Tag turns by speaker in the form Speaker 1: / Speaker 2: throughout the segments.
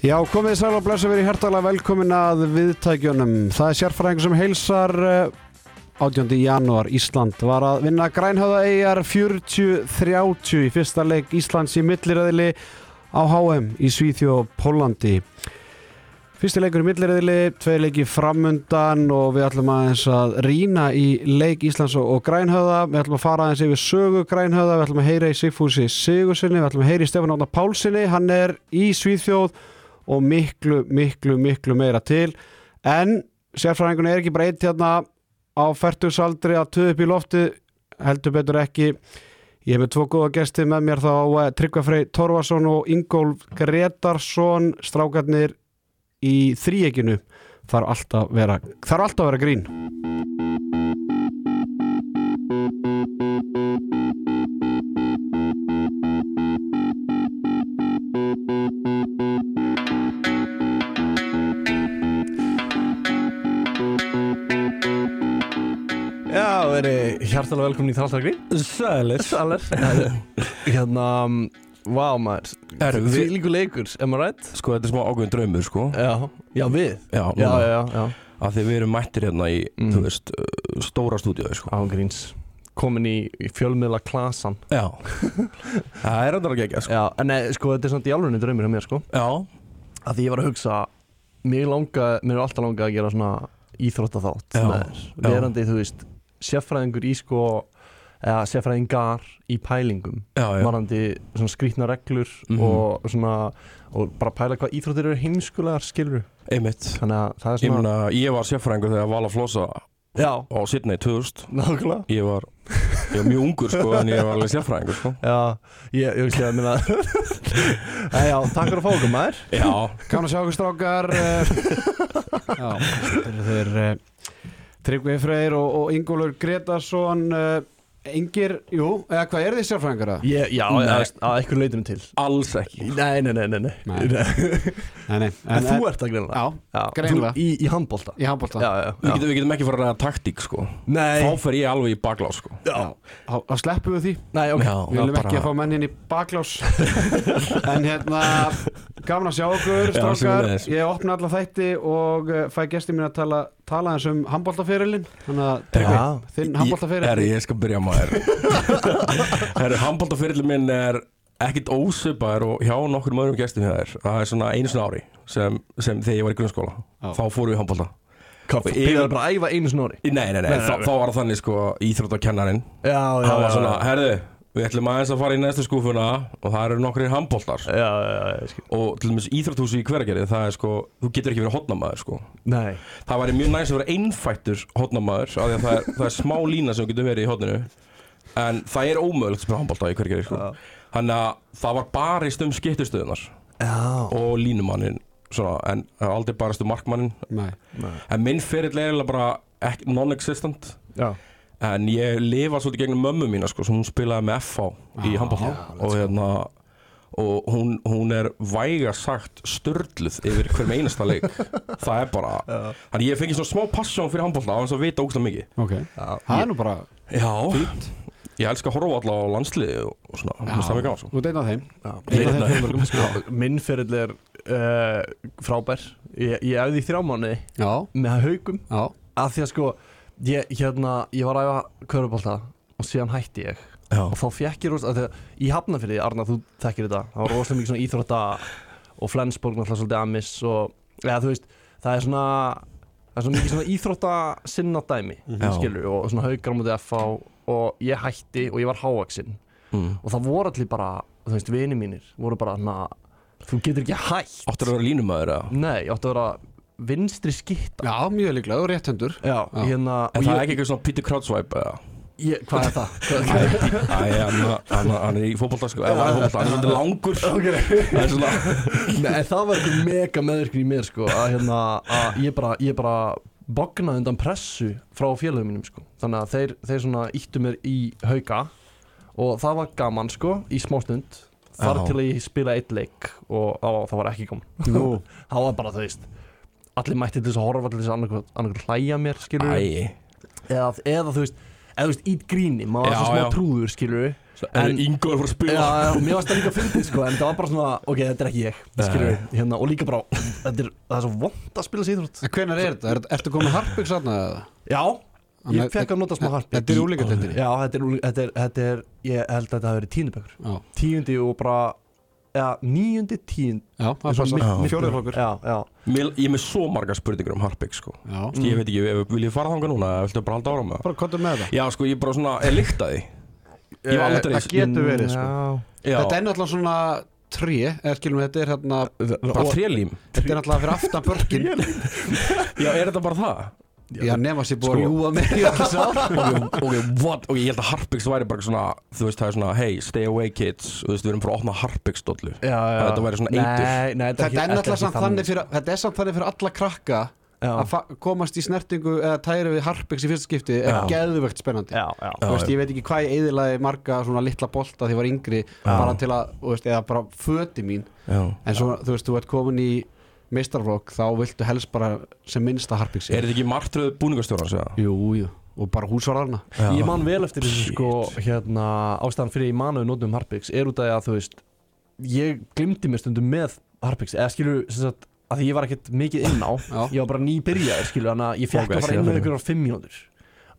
Speaker 1: Já, komið sæl og blessa verið hærtalega velkomin að viðtækjunum. Það er sérfræðing sem heilsar eh, 18. janúar. Ísland var að vinna grænhöða 40-30 í fyrsta leik Íslands í milliröðili á HM í Svíþjó og Pólandi. Fyrsti leikur í milliröðili, tvei leiki framundan og við ætlum aðeins að rýna í leik Íslands og, og grænhöða. Við ætlum að fara aðeins yfir sögu grænhöða, við ætlum að heyra í Sigfúsi Sigursinni, við ætlum að heyra í Stefán Átna Pálsinni, hann er í Svíþjóð og miklu, miklu, miklu meira til en sérfræðingun er ekki bara eitt hérna á færtusaldri að töðu upp í lofti heldur betur ekki ég hef með tvo góða gesti með mér þá eh, Tryggva Frey Torfason og Ingólf Gretarsson strákarnir í þríekinu þarf alltaf að vera, þarf alltaf að vera grín
Speaker 2: Já, verið hjartalega velkomin í Þraldargrín
Speaker 3: Sælir
Speaker 2: Saler Hérna, vá maður
Speaker 3: Herru,
Speaker 2: Því
Speaker 3: við,
Speaker 2: líku leikur, am I right?
Speaker 3: sko þetta er smá ágöðin draumur sko
Speaker 2: Já, já við
Speaker 3: Já,
Speaker 2: Já,
Speaker 3: núna,
Speaker 2: já, já
Speaker 3: að því við erum mættir hérna í,
Speaker 2: Mm.
Speaker 3: þú veist, uh, stóra stúdíu sko
Speaker 2: Ángríns Komin í, í sko. fjölmiðla klasan
Speaker 3: Já Það er hérna ekki ekki sko
Speaker 2: Já, en nei, sko, þetta er samt í alvegni draumur hjá mér, sko
Speaker 3: Já,
Speaker 2: Að því ég var að hugsa Mér langa, mér er alltaf langa að gera svona íþrótta þátt
Speaker 3: Já, já.
Speaker 2: Verandi, þú veist, sérfræðingur í sko Eða sérfræðingar í pælingum
Speaker 3: já, já
Speaker 2: varandi svona skrýtna reglur
Speaker 3: Mhm.
Speaker 2: og svona og bara pæla hvað íþróttir eru heimskulegar skilur
Speaker 3: Einmitt
Speaker 2: þannig að það er
Speaker 3: Ég
Speaker 2: svona
Speaker 3: meina, ég var sérfræðingur þegar Vala Flosa
Speaker 2: já,
Speaker 3: á Sydney 2000
Speaker 2: nákvæmlega
Speaker 3: Ég var, ég var mjög ungur sko en ég var alveg sérfræðingur sko
Speaker 2: já, ég, ég veist ég að minna Nei, já, takk fyrir að fá okkur maður
Speaker 3: Já,
Speaker 1: Kannu sjá okkur strákar eh, Já, þeir eru þeir eh, Tryggvi Freyr og, og Ingólfur Gretarsson eh, Engir, jú, eða hvað er þið sérfræðingar að?
Speaker 2: ég, já,
Speaker 3: Nei.
Speaker 2: að, að eitthvað leitinu til
Speaker 3: alls ekki
Speaker 2: nei, nei, nei, nei, nei.
Speaker 1: Nei. Nei, nei,
Speaker 2: en, þú ert að greinlega
Speaker 1: Já,
Speaker 2: já,
Speaker 1: greinilega.
Speaker 2: þú- í, í handbólta
Speaker 1: í handbólta
Speaker 2: já, já,
Speaker 3: Við
Speaker 2: já.
Speaker 3: getum, við getum ekki fara að ræða taktík sko
Speaker 2: nei,
Speaker 3: Þá fer ég alveg í baklás sko
Speaker 2: já.
Speaker 1: Þá þá sleppum við því,
Speaker 2: nei, ok
Speaker 3: Já,
Speaker 1: við viljum
Speaker 3: bara-
Speaker 1: ekki að fá mennin í baklás En hérna, gaman að sjá okkur,
Speaker 3: Já,
Speaker 1: strákar
Speaker 3: sömuleiðis.
Speaker 1: Ég opna alla þætti og eh, fæ gesti mín að tala, tala eins um handbóltaferilinn Þannig að,
Speaker 3: Já.
Speaker 1: Tryggvi, þinn
Speaker 3: Herri,
Speaker 1: handbóltaferil
Speaker 3: ég skal byrja maður Herri, handbóltaferillin minn er ekkit ósöpaður og hjá nokkur öðrum gestum hjá þér það er svona einu svona ári sem, sem þegar ég var í grunnskóla
Speaker 1: Já.
Speaker 3: þá fórum við í handbólta
Speaker 2: Hvað,
Speaker 3: Og
Speaker 2: byrjaðu
Speaker 3: yfir-
Speaker 2: bara að æfa einu snori
Speaker 3: Nei, nei, nei,
Speaker 2: Nei, nei,
Speaker 3: þá,
Speaker 2: nei.
Speaker 3: þá var það þannig sko íþróttakennarin
Speaker 2: já, já,
Speaker 3: hann var
Speaker 2: já,
Speaker 3: svona,
Speaker 2: já,
Speaker 3: herri, við ætlum aðeins að fara í næstu skúfuna og það eru nokkrir handbóltar
Speaker 2: já, já, já, ég skil.
Speaker 3: og til dæmis íþrótthúsi í hveragerði það er sko, þú getur ekki verið hotnamaður sko
Speaker 2: nei,
Speaker 3: það væri mjög næst að vera einfættur hotnamaður af því að það er, það er smá lína sem þú getur verið í hotninu en það er ómögulegt að spila handbólta í hverjari sko.
Speaker 2: Já.
Speaker 3: þannig að það var barist um skiptustöðunar
Speaker 2: já,
Speaker 3: og línumannin svona, en það var aldrei barist um markmannin
Speaker 1: Nei,
Speaker 3: en minn ferill er eiginlega bara ek- non-existent
Speaker 2: já
Speaker 3: en ég lifa svolítið gegnum mömmu mína sko, sem hún spilaði með FH í
Speaker 1: Ah,
Speaker 3: handbólta og, hérna, og hún, hún er væga sagt störluð yfir hver með einasta leik það er bara, þannig ég fengi svona smá passjón fyrir handbólta á hans að vita ógstlega mikið
Speaker 1: ok Það er nú bara
Speaker 3: Já Ég elska að horfa alltaf á landsliði og, og svona, mér finnst það mjög gaman sko.
Speaker 1: Þú deynað þeim
Speaker 2: Já.
Speaker 1: Einn af
Speaker 3: Ég- hérna
Speaker 1: þeim fjölmörgum, sko.
Speaker 2: Minn ferill er uh, frábær Ég, ég æfði í þrjá mánuði
Speaker 1: Já,
Speaker 2: með haugum
Speaker 1: já,
Speaker 2: Af því að sko, ég, hérna, ég var að æfa körubolta og síðan hætti ég
Speaker 3: Já.
Speaker 2: Og þá fekk ég rosa, af því að í Hafnafyrði, Arna, þú þekkir þetta Það var rosalega mikið svona íþrótta og Flensborg náttúrulega svolítið amis og, eða þú veist, það er svona Það er svona mikið svona íþrótta sinna dæmi,
Speaker 3: Mhm. Já.
Speaker 2: skilur, og svona haugar á mútið FH og ég hætti og ég var hávaksinn
Speaker 3: Mm.
Speaker 2: og það voru allir bara, þú veist, vini mínir voru bara na, þú getur ekki hætt
Speaker 3: Áttur að vera línumæður eða?
Speaker 2: nei, ég átti að vera vinstri skitta
Speaker 1: já, mjög líklega og rétt hendur
Speaker 2: já,
Speaker 1: Já.
Speaker 2: hérna
Speaker 3: En
Speaker 2: og
Speaker 3: það er
Speaker 2: ég,
Speaker 3: ekki eitthvað svona Peter Crouch-væp eða?
Speaker 2: ég, hvað er það? Hvað-
Speaker 3: Æ, Æ, hann, hann, hann er í fótbolta sko, eða hann er í fótbolta, hann er svolítið langur
Speaker 2: ok,
Speaker 3: Það er svona,
Speaker 2: nei, en það var eitthvað mega meðvirkni í mér sko, að hérna, að ég bara, ég bara bognaði undan pressu frá félögum mínum sko, þannig að þeir, þeir svona íttu mér í hauka og það var gaman sko, í smástund þar
Speaker 3: Já.
Speaker 2: til að ég spilaði eitt leik og á, það var ekki gaman
Speaker 1: Nú,
Speaker 2: það var bara, þú veist allir mætti til þess að horfa til þess að annarkur hlæja mér, skilur
Speaker 3: æ
Speaker 2: eða, eða þú veist, eða þú veist, ít gríni maður var
Speaker 3: Já,
Speaker 2: svo smá
Speaker 3: já.
Speaker 2: trúður, skilur
Speaker 3: En
Speaker 2: En-
Speaker 3: Ingo er fyrir að
Speaker 2: Já,
Speaker 3: spila
Speaker 2: já, mér varst það líka fyndið sko, en það var bara svona, ok, þetta er ekki ég, skilur við, hérna, og líka bara, þetta er, það er svo vond að spila sér íþrótt.
Speaker 1: En hvenær er þetta? Er, ertu komið harpix aðna eða?
Speaker 2: Já,
Speaker 1: Þannig-
Speaker 2: ég fekk að nota smá harpi.
Speaker 1: Þetta er úlíkadeildinni?
Speaker 2: Já, þetta er, úli- þetta er, þetta er, ég held að þetta hafi verið tíundabökkur.
Speaker 1: Já,
Speaker 2: Tíundi og bara, já, níundi, tíund.
Speaker 1: já, það
Speaker 2: Svo
Speaker 1: passar
Speaker 2: mitt-
Speaker 3: Já.
Speaker 2: mitt-
Speaker 1: Fjórðaflokkur.
Speaker 2: Já, já.
Speaker 3: Mér, Ég er með svo marga spurningar um Harpix sko.
Speaker 1: Já,
Speaker 3: mm. Ég veit ekki, ef- vil ég fara þangað núna eða Viltu bara halda ára með það?
Speaker 1: bara kontum með það
Speaker 3: Já sko, ég bara svona, er líkt að því Ég var aldrei-
Speaker 1: Það getur
Speaker 2: Mm,
Speaker 1: verið sko
Speaker 2: Já.
Speaker 3: Já,
Speaker 1: Þetta er náttúrulega svona tré, eða skilum við, þetta er hérna
Speaker 3: bara
Speaker 1: og-
Speaker 3: trélím
Speaker 1: Þetta er náttúrulega fyrir aftan börkin
Speaker 3: Já, er þetta bara það?
Speaker 1: Já, nema sér búið
Speaker 3: Sko.
Speaker 1: að ljúga mig í öll þessi ár.
Speaker 3: ok, ok, what? Ok, ég held að Harpix væri bara svona Þú veist, það er svona, hey, stay away kids Þú veist, við erum frá að opna Harpix dollu
Speaker 2: Já, já.
Speaker 3: Þetta væri svona eitur.
Speaker 2: Nei, nei, þetta er
Speaker 1: Þetta er
Speaker 2: ekki-
Speaker 1: náttúrulega
Speaker 2: ekki
Speaker 1: samt þannig fyrir Þetta er samt þannig fyrir alla krakka
Speaker 2: Já.
Speaker 1: að fa- komast í snertingu eða tæri við harpix í fyrsta skipti er
Speaker 3: Já.
Speaker 1: geðvögt spennandi
Speaker 2: Já, já.
Speaker 1: Þú veist,
Speaker 3: já.
Speaker 1: ég veit ekki hvað ég eðilaði marga svona litla bolta því ég var yngri bara til að, þú veist, eða bara föti mín
Speaker 3: Já
Speaker 1: en svo, þú veist, þú ert komin í meistarflokk, þá viltu helst bara sem minnsta harpixi
Speaker 3: Er þetta ekki martröð búningastjóra, segja?
Speaker 1: Jú, jú, og bara húsvarðarna
Speaker 2: Ég man vel eftir þessu sko hérna, ástæðan fyrir ég man að við notum Harpix er út af því að þú veist ég glimti mér stundum með Harpix eða skilur sem sagt að því ég var ekkert mikið inn á
Speaker 1: Já.
Speaker 2: ég var bara nýbyrjaður skilur þannig að ég fekk
Speaker 3: Ok,
Speaker 2: að fara
Speaker 3: sé
Speaker 2: inn
Speaker 3: það
Speaker 2: með
Speaker 3: fyrir.
Speaker 2: ykkur á fimm mínútur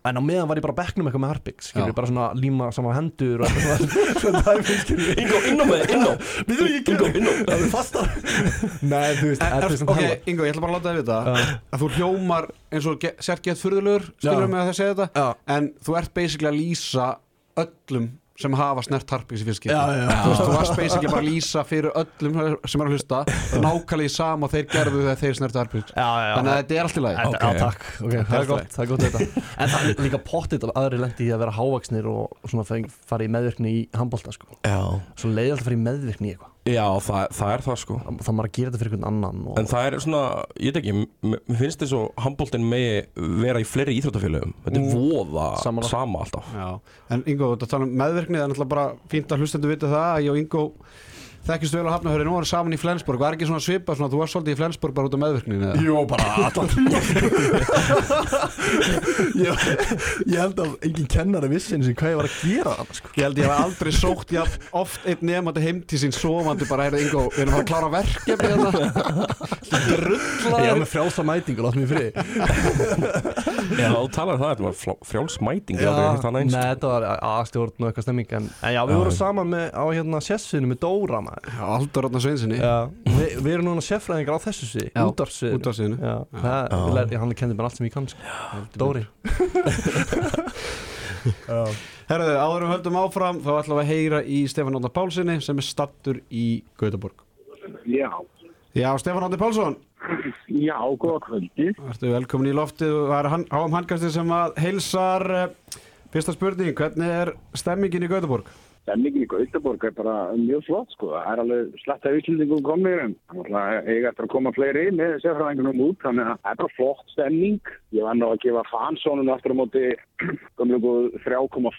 Speaker 2: en á meðan var ég bara á bekknum eitthvað með Harpix skilur
Speaker 1: Já.
Speaker 2: bara svona líma saman hendur og eitthvað svona- svona dæmi skilur
Speaker 3: Ingo, inn á með þið, inn á
Speaker 2: við erum ekki
Speaker 3: Ingo, inn á
Speaker 2: það er fastar nei þú veist þetta er svona
Speaker 1: Ok,
Speaker 2: tala.
Speaker 1: Ingo, ég ætla bara að láta þið vita að þú hljómar eins og ge- sért gett furðulegur
Speaker 2: Já.
Speaker 1: skilur með að það segja þetta
Speaker 2: Já.
Speaker 1: en þú ert basically að lýsa öllum sem hafa snert harpix í fyrsta skipti
Speaker 2: Já, já, já.
Speaker 1: Þú veist, þú varst basically bara að lýsa fyrir öllum sem er að hlusta nákvæmlega í sama og þeir gerðu þegar þeir snertu harpix
Speaker 2: Já, já, já.
Speaker 1: Þannig að þetta er allt í lagi
Speaker 2: Þetta,
Speaker 3: Ok.
Speaker 2: Já, takk, ok, það er gott, það er gott þetta En það er líka pottit af aðri lendi í að vera hávaksnir og svona feng- fara í meðvirkni í handbolta sko
Speaker 3: Já
Speaker 2: Svo leiði alltaf að fara í meðvirkni í eitthvað
Speaker 3: Já, það, það er það sko
Speaker 2: Það- Það maður að gera þetta fyrir einhvern annan og
Speaker 3: En það er svona, ég veit ekki, m- mér finnst þess að handbóltin megi vera í fleiri íþróttafélögum Þetta er voða
Speaker 2: Sammála.
Speaker 3: sama alltaf
Speaker 1: Já, en Ingo, þetta tala um meðvirkni það er náttúrulega bara fínt að hlustendu vita það að ég og Ingo þekkist vel á Hafnahöri nú erum við saman í Flensborg, var ekki svona svipa svona, þú varst svolítið í Flensborg bara út af meðvirknin eða?
Speaker 2: Jó, bara allan ég, ég held að engin kennari vissi eins og hvað ég var að gera þarna sko
Speaker 1: Ég held ég hef aldrei sótt ég oft einn nefandi heim til sín sofandi bara er Ingo, við erum að fara að klára hérna." verkefni þetta
Speaker 2: Ég var
Speaker 1: Drullaður
Speaker 2: með frjálsa mætingu, látt mér frið
Speaker 3: Já, þú talar um það, þetta var flá- frjálsmæting, ég aldrei hitt hann
Speaker 2: nei,
Speaker 3: eins
Speaker 2: þetta var aðstjórn og eitthvað stemming En, en já, við
Speaker 3: Já.
Speaker 2: vorum saman með, á hérna sessinu með Dóra maður
Speaker 1: Aldur Rána Sveinsinni
Speaker 2: Já, við, við erum núna sérfræðingar á þessu sviði,
Speaker 1: Já,
Speaker 2: útvarfsviðinu
Speaker 1: út af síðinu
Speaker 2: Já, það,
Speaker 3: Já.
Speaker 2: ég lær, hann kenndi mér allt sem ég kann sko. Dóri
Speaker 1: Herðu, áður um höldum áfram þá ætlum við að heyra í Stefán Átna Pálsini sem er stattur í Gautaborg
Speaker 4: Já,
Speaker 1: Já, Stefán Átni Pálsson
Speaker 4: já, góða kvöldi.
Speaker 1: Ertu velkomin í loftið og það er hann, háum handkastið sem að heilsar eh, fyrsta spurning, hvernig er stemmingin í Göteborg?
Speaker 4: Stemmingin í Gautaborg er bara mjög flott, sko. Það er alveg slætt af Íslandingum komnir en þannig að eiga eftir að koma fleiri inn með sérfræðingunum út. Þannig að það er bara flott stemning. Ég var nú að gefa fansónum aftur á móti gömlu góð 3,5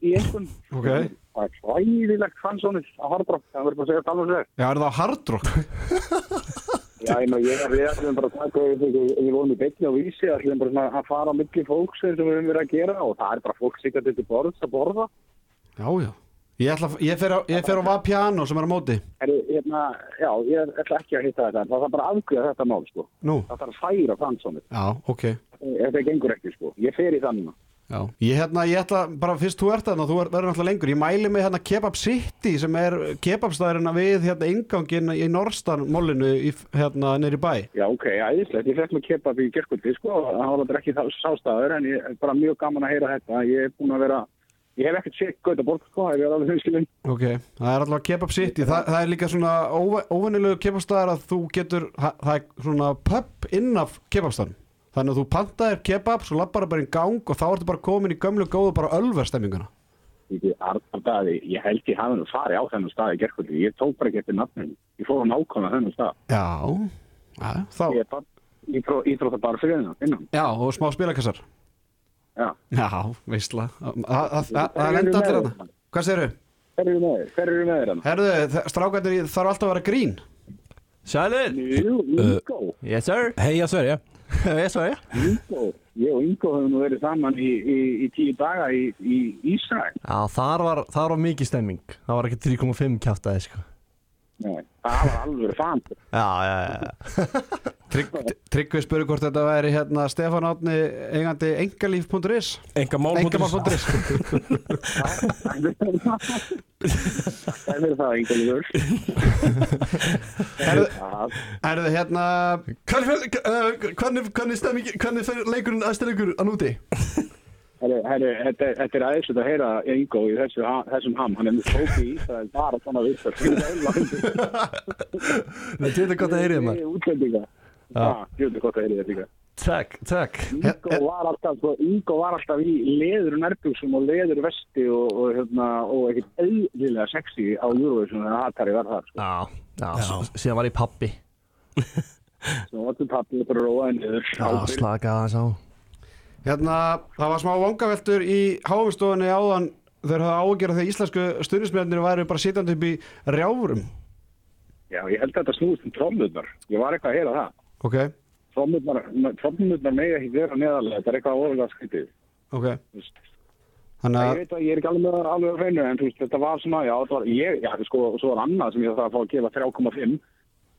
Speaker 4: í einhvern.
Speaker 1: Ok.
Speaker 4: Það er hlæðilegt fansónið á Harbrock. Það verður bara að segja talveg sér.
Speaker 1: Já, er það á hardrock?
Speaker 4: Já, ég meina, ég er við ætlum bara að taka við við, við vorum í beinni á vísi, ætlum bara svona að fara á milli fólks eins og við höfum verið að gera og það er bara fólk sikkert til borðs að borða.
Speaker 1: Já, já Ég, ætla, að- ég, fer, á, ég fer á Vapiano sem er á móti
Speaker 4: Er, hérna, já, ég ætla ekki að hitta þetta, en það þarf bara að afgjöða þetta mál, sko.
Speaker 1: Nú?
Speaker 4: Það þarf að færa þann svona,
Speaker 1: Já, ok
Speaker 4: ef það gengur ekki, sko. Ég fer í þann.
Speaker 1: Já. Ég, hérna, ég ætla bara fyrst þú ert þarna þú er- verður náttúrulega lengur, ég mæli mig hérna Kebab City sem er kebabstæðurina við hérna ingangin í Norstan mólinu í, hérna neyri bæ
Speaker 4: Já, ok, æðislegt. Ég fekk mig kebab í gerkvöldi, sko, og það var bara ekki þá sástæður, en ég er bara mjög gaman að heyra þetta. Ég er búin að vera, ég hef ekkert sétt Gautaborg, sko, ef ég er alveg hinskilinn.
Speaker 1: Ok, það er allavega Kebab City Þa, Það er líka svona óvinnilegu kebabstæðar að þú getur, það, það er svona pub inn af kebabstæðan Þannig að þú pantaðir kebab, svo lappar það bara í gang og þá ertu bara komin í gömlu góðu bara ölverstemminguna
Speaker 4: Ég, Arndaði, ég held ég hafa nú farið á þennan stað í gerkvöldi. Ég tók bara ekki eftir nafninu. Ég fór á nákvæmlega þennan stað.
Speaker 1: Já, ja, þá,
Speaker 4: Ég er bara íþró, íþróttabar fyrir hennan, innan.
Speaker 1: já, og smá spilakassar
Speaker 4: Já.
Speaker 1: Já, veistla Það- Það það- það er enda allir hana Hvað segirðu?
Speaker 4: Hver eru með þér? Hver eru með þér hann?
Speaker 1: Herðu, þa- strákarnir í- þarf alltaf að vera grín
Speaker 2: Sælir
Speaker 4: Jú, Ingo,
Speaker 2: Yes sir
Speaker 3: Hei, ég sver, já
Speaker 2: Yes sir
Speaker 4: Ingo ég og Ingo höfum nú verið saman í, í, í tíu daga í, í Ísrael.
Speaker 2: Já, þar var, þar var mikið stemming Það var ekki 3,5 kjátaði sko.
Speaker 4: Nei, það var alveg fann.
Speaker 2: Já, já, já
Speaker 1: Trygg, Tryggvi spurði hvort þetta væri hérna Stefán Átni eigandi engalíf.is
Speaker 3: Enga mál
Speaker 1: engamál.is
Speaker 4: Það er það, Ingo Lífur.
Speaker 1: Herðu-
Speaker 4: Það
Speaker 1: Er þið hérna
Speaker 2: Hvernig, uh, hvernig, hvernig stemming Hvernig fer leikurinn æstir leikur að núti?
Speaker 4: Herru, herru, þetta þetta er aðeinslega að heyra Ingo í þessu, ha- þessum ham. Hann er með tóki í Ísrael bara svona vissar.
Speaker 2: Nei, þetta er gott að heyrið maður
Speaker 4: Útlendinga. Já, þetta er gott að heyra þetta líka.
Speaker 2: Takk, takk
Speaker 4: Ingo var alltaf, sko, Ingo var alltaf í leður nærbjörnsum og leður vesti og, og, hérna, og ekkert eðlilega sexy á Eurovision en Hatari var þar. Sko.
Speaker 2: Já, já, já. síðan var ég pappi
Speaker 4: Svo vartu pappið bara róaði niður.
Speaker 2: Já, slaka aðeins á
Speaker 1: Hérna, það var smá vangaveltur í háumstofunni áðan þegar það ágjörða þegar íslensku stundismjörnir væri bara sitjandi upp í rjáfurum
Speaker 4: Já, ég held að þetta snúist um trommurnar. Ég var eitthvað að heyra það.
Speaker 1: Ok,
Speaker 4: Trommurnar, trommurnar megi ekki vera neðarlega. Þetta er eitthvað ólega skytið.
Speaker 1: ok
Speaker 4: Þú veist.
Speaker 1: Þannig
Speaker 4: Ég
Speaker 1: að,
Speaker 4: veit að ég er ekki alveg með það alveg á hreinu en þú veist, þetta var svona, já, þetta var, ég, já, sko, og svo var annað sem ég þarf að fá að gefa 3,5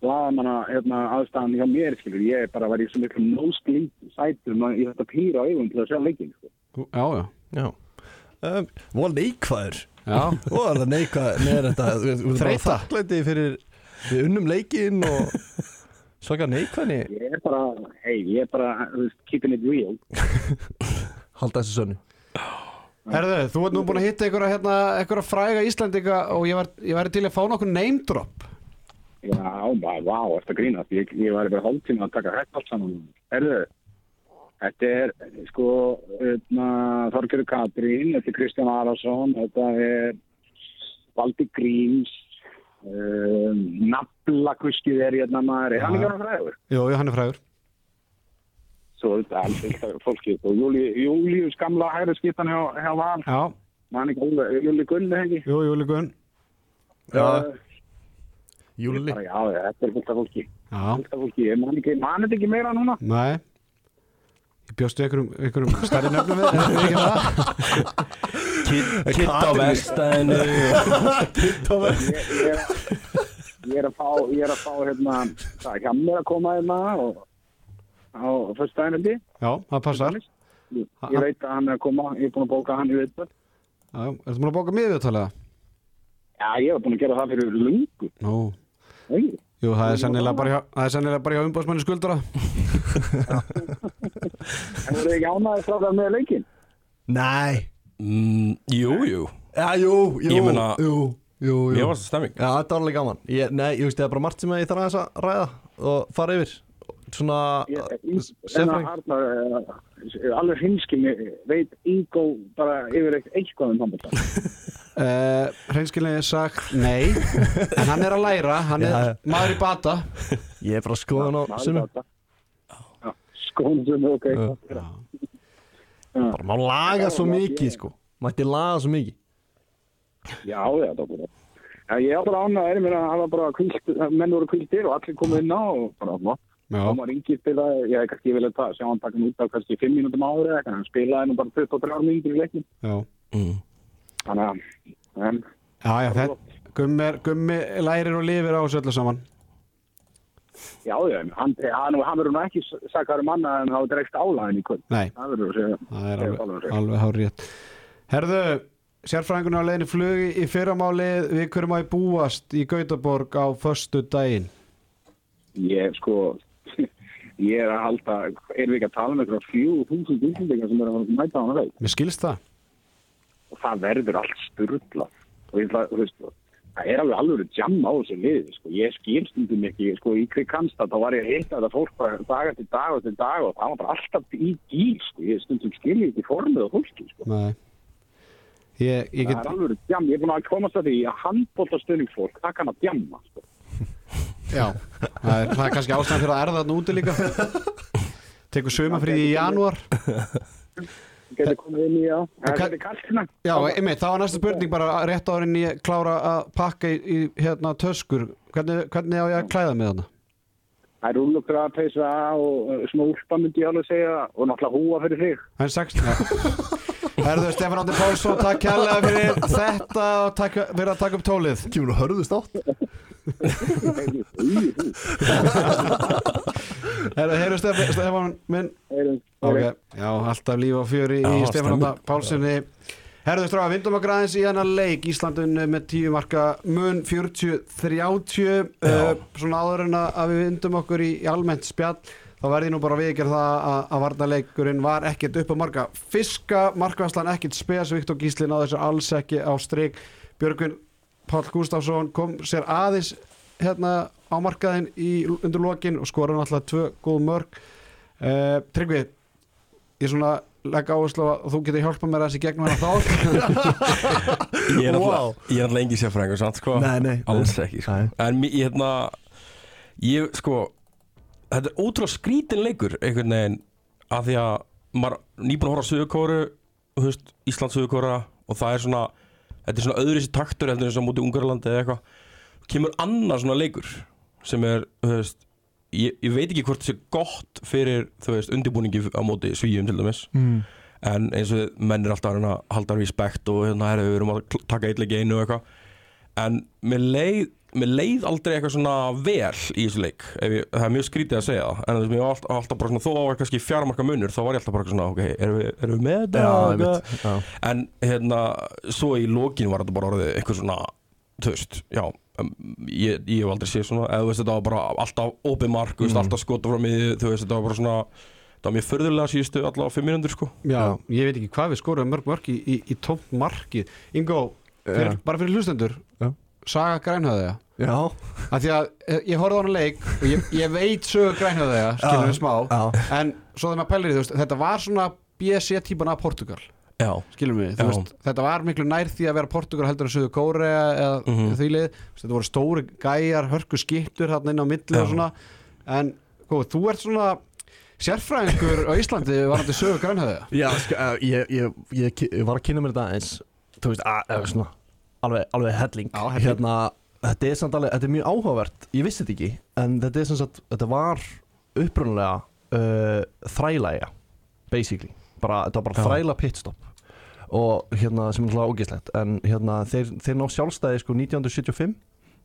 Speaker 4: laðamanna, hérna, aðstæðan hjá mér, skilur, ég bara var í svo miklu nósklík sætum að- í þetta pýra augum til að sjá leikin, sko.
Speaker 1: já, já
Speaker 2: Já um, Var neikvæður
Speaker 1: Já,
Speaker 2: Var það neikvæður Nei, þetta þú veist, þú veist, bara
Speaker 1: Þreyta.
Speaker 2: Þakklæti fyrir Við unnum leikinn og Svaka neikvæðni
Speaker 4: Ég er bara, hei, ég er bara, þú veist, keeping it real.
Speaker 2: Halda þessu sönnu
Speaker 1: herðu, þú ert nú búin að hitta einhverja hérna, einhverja fræga Íslandinga og ég var, ég var til að fá nokkur name drop
Speaker 4: Já, bara, vá, eftir að grínast, ég, ég var bara hálftíma að taka hægt allt saman. Erðu, þetta er, sko, hérna, Þorgjörður Katrín, þetta er Kristján Arason, þetta er Valdi Gríms, um, Nabla Kuskið er hérna maður, er hann ekki hann fræður?
Speaker 1: Jú, jú, hann er frægur
Speaker 4: Svo þetta er alls eitthvað fólkið, og Júli- Júlíus gamla hægri skiptan hjá, hjá Val,
Speaker 1: Já,
Speaker 4: mann ekki alveg, Júli Gunni ekki?
Speaker 1: jú, jú, líkun
Speaker 2: Já,
Speaker 4: Eh,
Speaker 2: Júli
Speaker 4: bara, já, þetta er fullt af fólki,
Speaker 1: Já,
Speaker 4: fullt af fólki, ég man ekki, man þetta ekki meira núna.
Speaker 1: nei Ég bjóstu einhverjum, einhverjum stærri nöfnum við, er það ekki það?
Speaker 2: Eh,
Speaker 3: Kitt á vestæðinu
Speaker 4: ég, ég, er- ég er að fá ég er að fá hérna það er hjemmir að koma hérna og á fyrsta einandi
Speaker 1: Já, það passar Já,
Speaker 4: ég veit að hann er að koma, ég er búin að bóka hann í viðböld
Speaker 1: ertu búin að bóka miðið talega?
Speaker 4: já, ég var búin að gera það fyrir lungu
Speaker 1: Nú,
Speaker 4: Nei,
Speaker 1: jú, það er sennilega bara hjá, það er sennilega bara hjá umbóðsmanni skuldara
Speaker 4: það voru ekki ánæðið strákar með leikin
Speaker 2: Nei
Speaker 3: Mm, Jú, jú
Speaker 2: Já, jú, jú
Speaker 3: Ég meina-
Speaker 2: Jú, jú, jú
Speaker 3: Ég var það stemming
Speaker 2: Já, þetta var alveg gaman ég, Nei, ég veist, það er bara margt sem ég þarf aðeins að ræða Og fara yfir Svona
Speaker 4: Ég- en að
Speaker 2: Sérfræðing
Speaker 4: Arnar, eh, alveg hinskimi veit Ingo bara yfir eitt eitthvað um handbólta
Speaker 1: Uh, hreinskilinni sagt nei en hann er að læra, hann er
Speaker 2: Já, já.
Speaker 1: maður í bata
Speaker 2: Ég er bara að skoða hann á sumum
Speaker 4: skónum sem ok
Speaker 2: Bara má laga svo mikið, sko Mætti laga svo mikið
Speaker 4: Já, já, það búið. Já, ég er bara ánægður, mér að það var bara kvilt, menn voru kviltir og allir komið inn á og bara, ná, þá
Speaker 1: já,
Speaker 4: var yngið spilaði, ég hef kannski vilja það, sjá hann taka hann út af kannski 5 mínútum ári eða eitthvað, hann spilaði nú bara 23 mínútur í leiknum.
Speaker 1: já,
Speaker 4: Þannig að, en,
Speaker 1: já, já þetta, gummi, er- gummi lærir og lifir á þessu öllu saman
Speaker 4: já, já, en hann, hann, hann verður nú ekki sakar um annað en það var drekst álæðin í kvöld.
Speaker 1: nei,
Speaker 4: Það verður að segja. um
Speaker 1: það er
Speaker 4: Það
Speaker 1: alveg, alveg hár rétt herðu, sérfræðingunni á leiðinni flugi í fyrramálið, við hverjum að búast í Gautaborg á föstu daginn
Speaker 4: Ég, sko, ég er að halda, erum við ekki að tala um eitthvað 4.000 útlendingar sem er að mæta á hann að veit?
Speaker 1: mér skilst það
Speaker 4: og það verður allt styrla og ég ætla, þú veist, það er alveg alveg jam á þessu liði, sko, ég skil stundum ekki, sko, í Krikanstad, þá var ég að heita þetta fólk bara dag eftir dag eftir dag og það var bara alltaf í gíl, sko, ég stundum skil ég ekki formið á fólki, sko,
Speaker 1: nei ég, ég
Speaker 4: það
Speaker 1: get,
Speaker 4: er alveg jam, ég er búin að komast að því að handbólta stöðningsfólk, það kann að jamma, sko,
Speaker 1: já það er, það er kannski ástæðan fyrir að erða þarna úti líka tekur sömafríði í janúar
Speaker 4: það getur komið inn í á, það er kalkna,
Speaker 1: Já, einmitt, þá var næsta spurning bara rétt árin ég klára að pakka í, í hérna töskur hvernig, hvernig á ég að klæða mig þarna?
Speaker 4: Það er rúllugraða peysa og uh, svona úlpa myndi ég alveg segja og náttúrulega húa fyrir þig.
Speaker 1: En 16 Herðu Stefán Andi Pálsson, takk kærlega fyrir þetta og takk fyrir að taka upp tólið
Speaker 2: Kemur og hörðust átt
Speaker 1: Herðu, heyrðu Stefán, Stefán minn
Speaker 4: Heyrjum,
Speaker 1: Ok, já, alltaf líf og fjöri í
Speaker 3: Já,
Speaker 1: Stefán Andi
Speaker 3: stemning.
Speaker 1: Pálssoni Herðu stráða, vindum okkur aðeins í hennar leik Íslandun með 10 marka mun 40-30 uh, Svona áður en að- að við vindum okkur í, í almennt spjall þá verði nú bara viðgjör það að, að varnaleikurinn var ekkert upp á marga fiska, markvæslan ekkert spes Viktor Gísli náði þessu alls ekki á strik Björgvin Páll Gústafsson kom sér aðeins hérna á markaðin í undir lokin og skora náttúrulega tvö góð mörg uh, Tryggvi ég svona legg áherslu á að þú getur hjálpað mér aðeins í gegnum hérna þá
Speaker 3: Ég er
Speaker 2: Wow.
Speaker 3: alltaf wow. engi sérfræðingur samt sko
Speaker 2: Nei, nei, nei.
Speaker 3: Alls ekki sko
Speaker 2: Nei.
Speaker 3: En mér- ég hérna Ég sko Þetta er ótrúlega skrítin leikur einhvern veginn að því að maður nýbúin að horfa á Suðurkóru þú veist, Ísland Suðurkóra og það er svona þetta er svona öðru sér taktur heldur en svo mútið Ungarlandi eða eitthvað kemur annar svona leikur sem er, þú veist ég, ég veit ekki hvort það sé gott fyrir þú veist, undirbúningi á móti svíum til dæmis
Speaker 2: mm.
Speaker 3: en eins og menn er alltaf að reyna að halda respekt og hérna herri, við erum að kl- taka eitt leik í einu og eitthvað en mér leið, mér leið aldrei eitthvað svona vel í þessu leik ef ég, það er mjög skrítið að segja það en þess að mér var alltaf, alltaf bara svona þó að það var kannski fjármarka munur þá var ég alltaf bara eitthvað svona ok, erum við, erum við með þetta
Speaker 2: Já,
Speaker 3: Eitthvað.
Speaker 2: einmitt, já.
Speaker 3: en hérna svo í lokin var þetta bara orðið eitthvað svona þú veist, já um, ég, ég hef aldrei séð svona, eða þú veist þetta var bara alltaf opið mark, þú veist, alltaf skotur frá miðju, þú veist, þetta var bara svona þetta var mjög förðulega síðustu allavega fimm mínútur sko
Speaker 1: já, ég veit ekki hvað við skorum mörg mörg í, í, í tómt marki Ingo, fyrir,
Speaker 2: Já.
Speaker 1: bara fyrir hlustendur
Speaker 2: Já.
Speaker 1: Saga Grænhöðja
Speaker 2: Já,
Speaker 1: að því að eh, ég horfði á hann leik og ég, ég veit sögur grænhöðega skilur
Speaker 2: Já,
Speaker 1: við smá
Speaker 2: já.
Speaker 1: en svo þegar maður pælir í því, þú veist, þetta var svona BSC típan af Portugal
Speaker 3: Já,
Speaker 1: skilur við, þú
Speaker 3: Já.
Speaker 1: veist, þetta var miklu nær því að vera Portugal heldur en sögur Kórea eða
Speaker 3: Mhm.
Speaker 1: því lið, Þú veist, þetta voru stóri gæjar hörku skiptur þarna inn á milli
Speaker 3: Já.
Speaker 1: og svona en góð, þú ert svona sérfræðingur á Íslandi varandi sögur grænhöðega
Speaker 2: já sko, eh, ég, ég, ég, ki- ég var að kynna mér þetta eins Þú veist, að, að, svona, alveg, alveg helling,
Speaker 1: Já, helling.
Speaker 2: Hérna, þetta, er samt alveg, þetta er mjög áhugavert, ég vissi þetta ekki En þetta, er sem sagt, þetta var upprunalega uh, þrælæja, basically bara, Þetta var bara
Speaker 3: Já.
Speaker 2: þræla pitstop og hérna sem er náttúrulega ógislegt en hérna þeir, þeir ná sjálfstæði sko 1975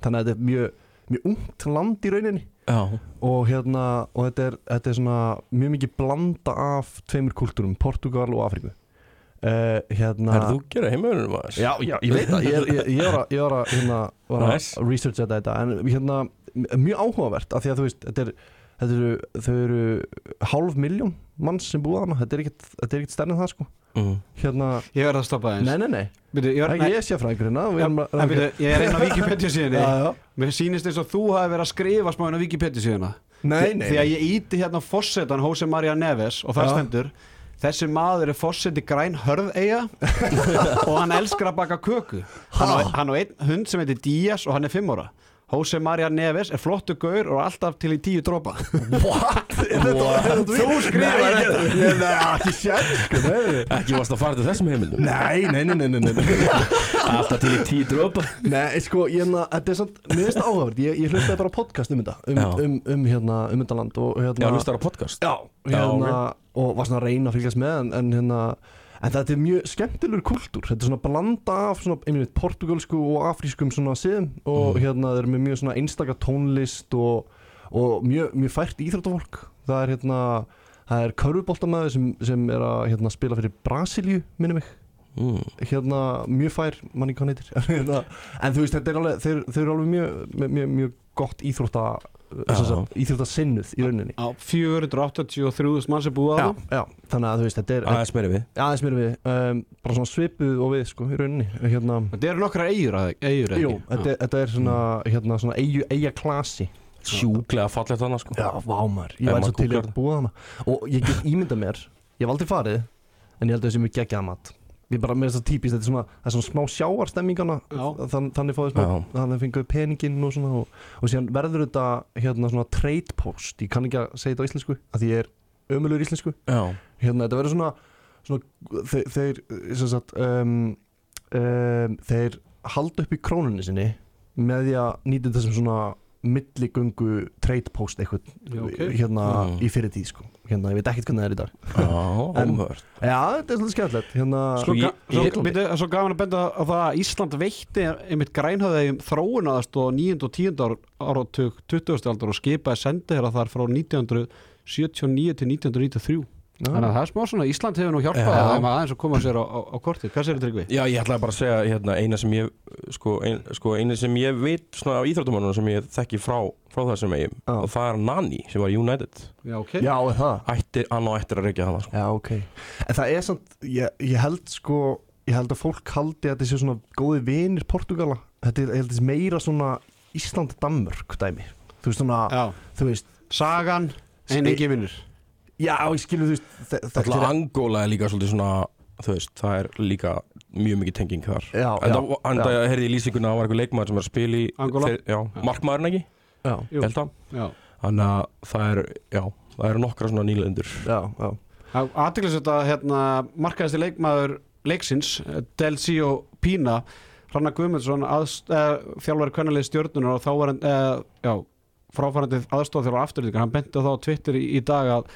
Speaker 2: þannig að þetta er mjög, mjög ungt land í rauninni
Speaker 3: já,
Speaker 2: og hérna og þetta er, þetta er svona mjög mikið blanda af tveimur kultúrum, Portugal og Afríku uh, hérna
Speaker 3: er þú gera heimauðunum maður?
Speaker 2: já, já, ég veit það, ég, er- ég, ég var að, ég var að, hérna, var að
Speaker 3: Nice.
Speaker 2: researcha þetta en hérna, m- mjög áhugavert af því að þú veist, þetta er Þetta eru, þau eru hálf miljón manns sem búið hana, þetta er ekkert, þetta er ekkert stærn en það sko
Speaker 3: Mm.
Speaker 2: Hérna,
Speaker 1: ég verð að stoppa það
Speaker 2: nei,
Speaker 1: eins
Speaker 2: nei, nei,
Speaker 1: Byrju, ég,
Speaker 2: það
Speaker 1: var,
Speaker 2: er
Speaker 1: nei,
Speaker 2: ekki ég sé fræðingurinn að við erum að
Speaker 1: en byrju, ég er einn á Wikipedia síðan
Speaker 2: Já, já.
Speaker 1: Mér sýnist eins og þú hafi verið að skrifa smá inn á Wikipedia síðuna
Speaker 2: Nei, nei,
Speaker 1: Því að ég íti hérna á fórsetan Jose Maria Neves og það
Speaker 2: Já.
Speaker 1: stendur Þessi maður er fórseti græn hörðeia og hann elskar að baka köku Hann á, e- hann á einn hund sem heitir Díaz og hann er fimm ára Jose Maria Neves er flottu gaur og alltaf til í tíu dropa
Speaker 2: what? Er þetta, er þetta Þú skrifar þetta Nei, ég- nei, ekki sér sko, nei
Speaker 3: Ekki varst að fara til þessum heimildum
Speaker 2: Nei, nei, nei, nei, nei, nei, nei.
Speaker 3: Alltaf til í tíu dropa
Speaker 2: nei sko, ég, na, þetta er samt, mér finnst það áhugavert, ég, ég hlustaði bara á podcast um þetta, um,
Speaker 3: Já.
Speaker 2: um, um, hérna, um þetta land og hérna,
Speaker 3: Já, hlustar á podcast
Speaker 2: já, hérna
Speaker 3: Já,
Speaker 2: og var svona að reyna að fylgjast með en, en hérna, en þetta er mjög skemmtilegur kultúr, þetta er svona blanda af svona, einmitt, portugalsku og afrískum svona siðum og
Speaker 3: Mm.
Speaker 2: hérna, þeir eru með mjög svona einstaka tónlist og, og mjög, mjög fært íþróttafólk, það er hérna, það er körfuboltamæður sem, sem er að hérna, spila fyrir Brasilíu, minni mig
Speaker 3: mm.
Speaker 2: hérna, mjög fær manni hvað hann heitir hérna, en þú veist, þetta er alveg þeir, þeir eru alveg mjög, mjög, mjög, mjög gott íþrótta eh,
Speaker 3: Já.
Speaker 2: sagt, íþrótta sinnuð í rauninni
Speaker 1: á 483.000 mann sem búið á
Speaker 2: já,
Speaker 1: það
Speaker 2: já, þannig að þú veist, þetta er e,
Speaker 3: Aðeins meiri við
Speaker 2: aðeins mér við, um, bara svona svipuð og við sko, í rauninni hérna,
Speaker 1: Þetta eru nokkra eigur að eigur
Speaker 2: jú, þetta, þetta er svona,
Speaker 3: Mm.
Speaker 2: hérna, svona eigu, eiga klasi
Speaker 3: Sjúklega fallegt annars sko
Speaker 2: já, vámar,
Speaker 3: Ef
Speaker 2: ég væri
Speaker 3: maður
Speaker 2: svo til í
Speaker 3: googlar
Speaker 2: að
Speaker 3: það.
Speaker 2: búa hana og ég get ímynda mér, ég hef aldrei farið en ég held að þessi mjög geggjað mat Ég bara með þess að típist, þetta er svona, það er svona smá sjáarstemmingana
Speaker 1: Já.
Speaker 2: þann, þannig fóðu smá,
Speaker 3: Já.
Speaker 2: þannig fenguðu peninginn og svona og, og síðan verður þetta hérna svona trade post, ég kann ekki að segja þetta á íslensku að því ég er ömulur íslensku
Speaker 3: Já,
Speaker 2: hérna þetta verður svona, svona þeir, þeir, sem sagt, um, um, þeir halda upp í krónunni sinni með því að nýta þetta sem svona milligöngu trade post eitthvað
Speaker 1: ok.
Speaker 2: hérna
Speaker 3: Mm.
Speaker 2: í fyrir tíð sko. hérna, ég veit ekkert hvernig það er í dag
Speaker 3: Já, ómörd
Speaker 2: já, þetta er svolítið skemmtilegt hérna,
Speaker 1: Svo,
Speaker 3: Sko,
Speaker 1: ga
Speaker 3: ég-
Speaker 1: svo,
Speaker 3: ég-
Speaker 1: byrju, svo gafan að benda á það að Ísland veitti einmitt grænhöðaðum þróunaðast og 9. og 10. ár- áratug 20. aldar og skipaði sendiherra þar frá 1979 til 1993 Þannig að það er smá svona, Ísland hefur nú hjálpað
Speaker 3: Já.
Speaker 1: þeim að aðeins að koma sér á, á, á kortið Hvað sér þetta tryggvi?
Speaker 3: Já, ég ætlaði bara að segja hérna, eina sem ég sko, ein, sko, eina sem ég veit svona af íþróttumannunum sem ég þekki frá, frá þessum eigum
Speaker 2: Já.
Speaker 3: og það er Nani sem var í United
Speaker 1: Já, ok
Speaker 2: já, er það
Speaker 3: ættir, hann á ættir að reykja hana sko.
Speaker 2: já, ok en það er samt, ég, ég held sko ég held að fólk haldi að þetta séu svona góði vinir Portugala þetta er, ég held að þetta sé meira svona Ísland-Danmörk dæmi þú veist svona,
Speaker 1: Já.
Speaker 2: þú veist
Speaker 1: Sagan, en
Speaker 2: Spi-
Speaker 1: ekki vinnur
Speaker 2: já, ég skilur þú veist þe- þetta
Speaker 3: Alltaf
Speaker 2: er-
Speaker 3: Angola er líka svolítið svona þú veist, það er líka mjög mikið tenging þar
Speaker 2: já,
Speaker 3: En
Speaker 2: já,
Speaker 3: það- en það heyrði í lýsinguna að það var eitthvað leikmaður sem er að spila í
Speaker 1: Angola?
Speaker 3: þeir- já, markmaðurinn ekki,
Speaker 2: já,
Speaker 1: Jú.
Speaker 3: held það
Speaker 1: Já
Speaker 3: Þannig að það er, já, það eru nokkra svona nýlendur
Speaker 2: já, já.
Speaker 1: Aðteglisvægt að hérna, markaðasti leikmaður leiksins, Del Sio Pína Hrannar Guðmundsson aðst- eh, þjálfari kvennalið stjörnunar og þá var hann eh, já, fráfærandi aðstofa þjálfari afturlíka hann benti á það á Twitter í, í dag að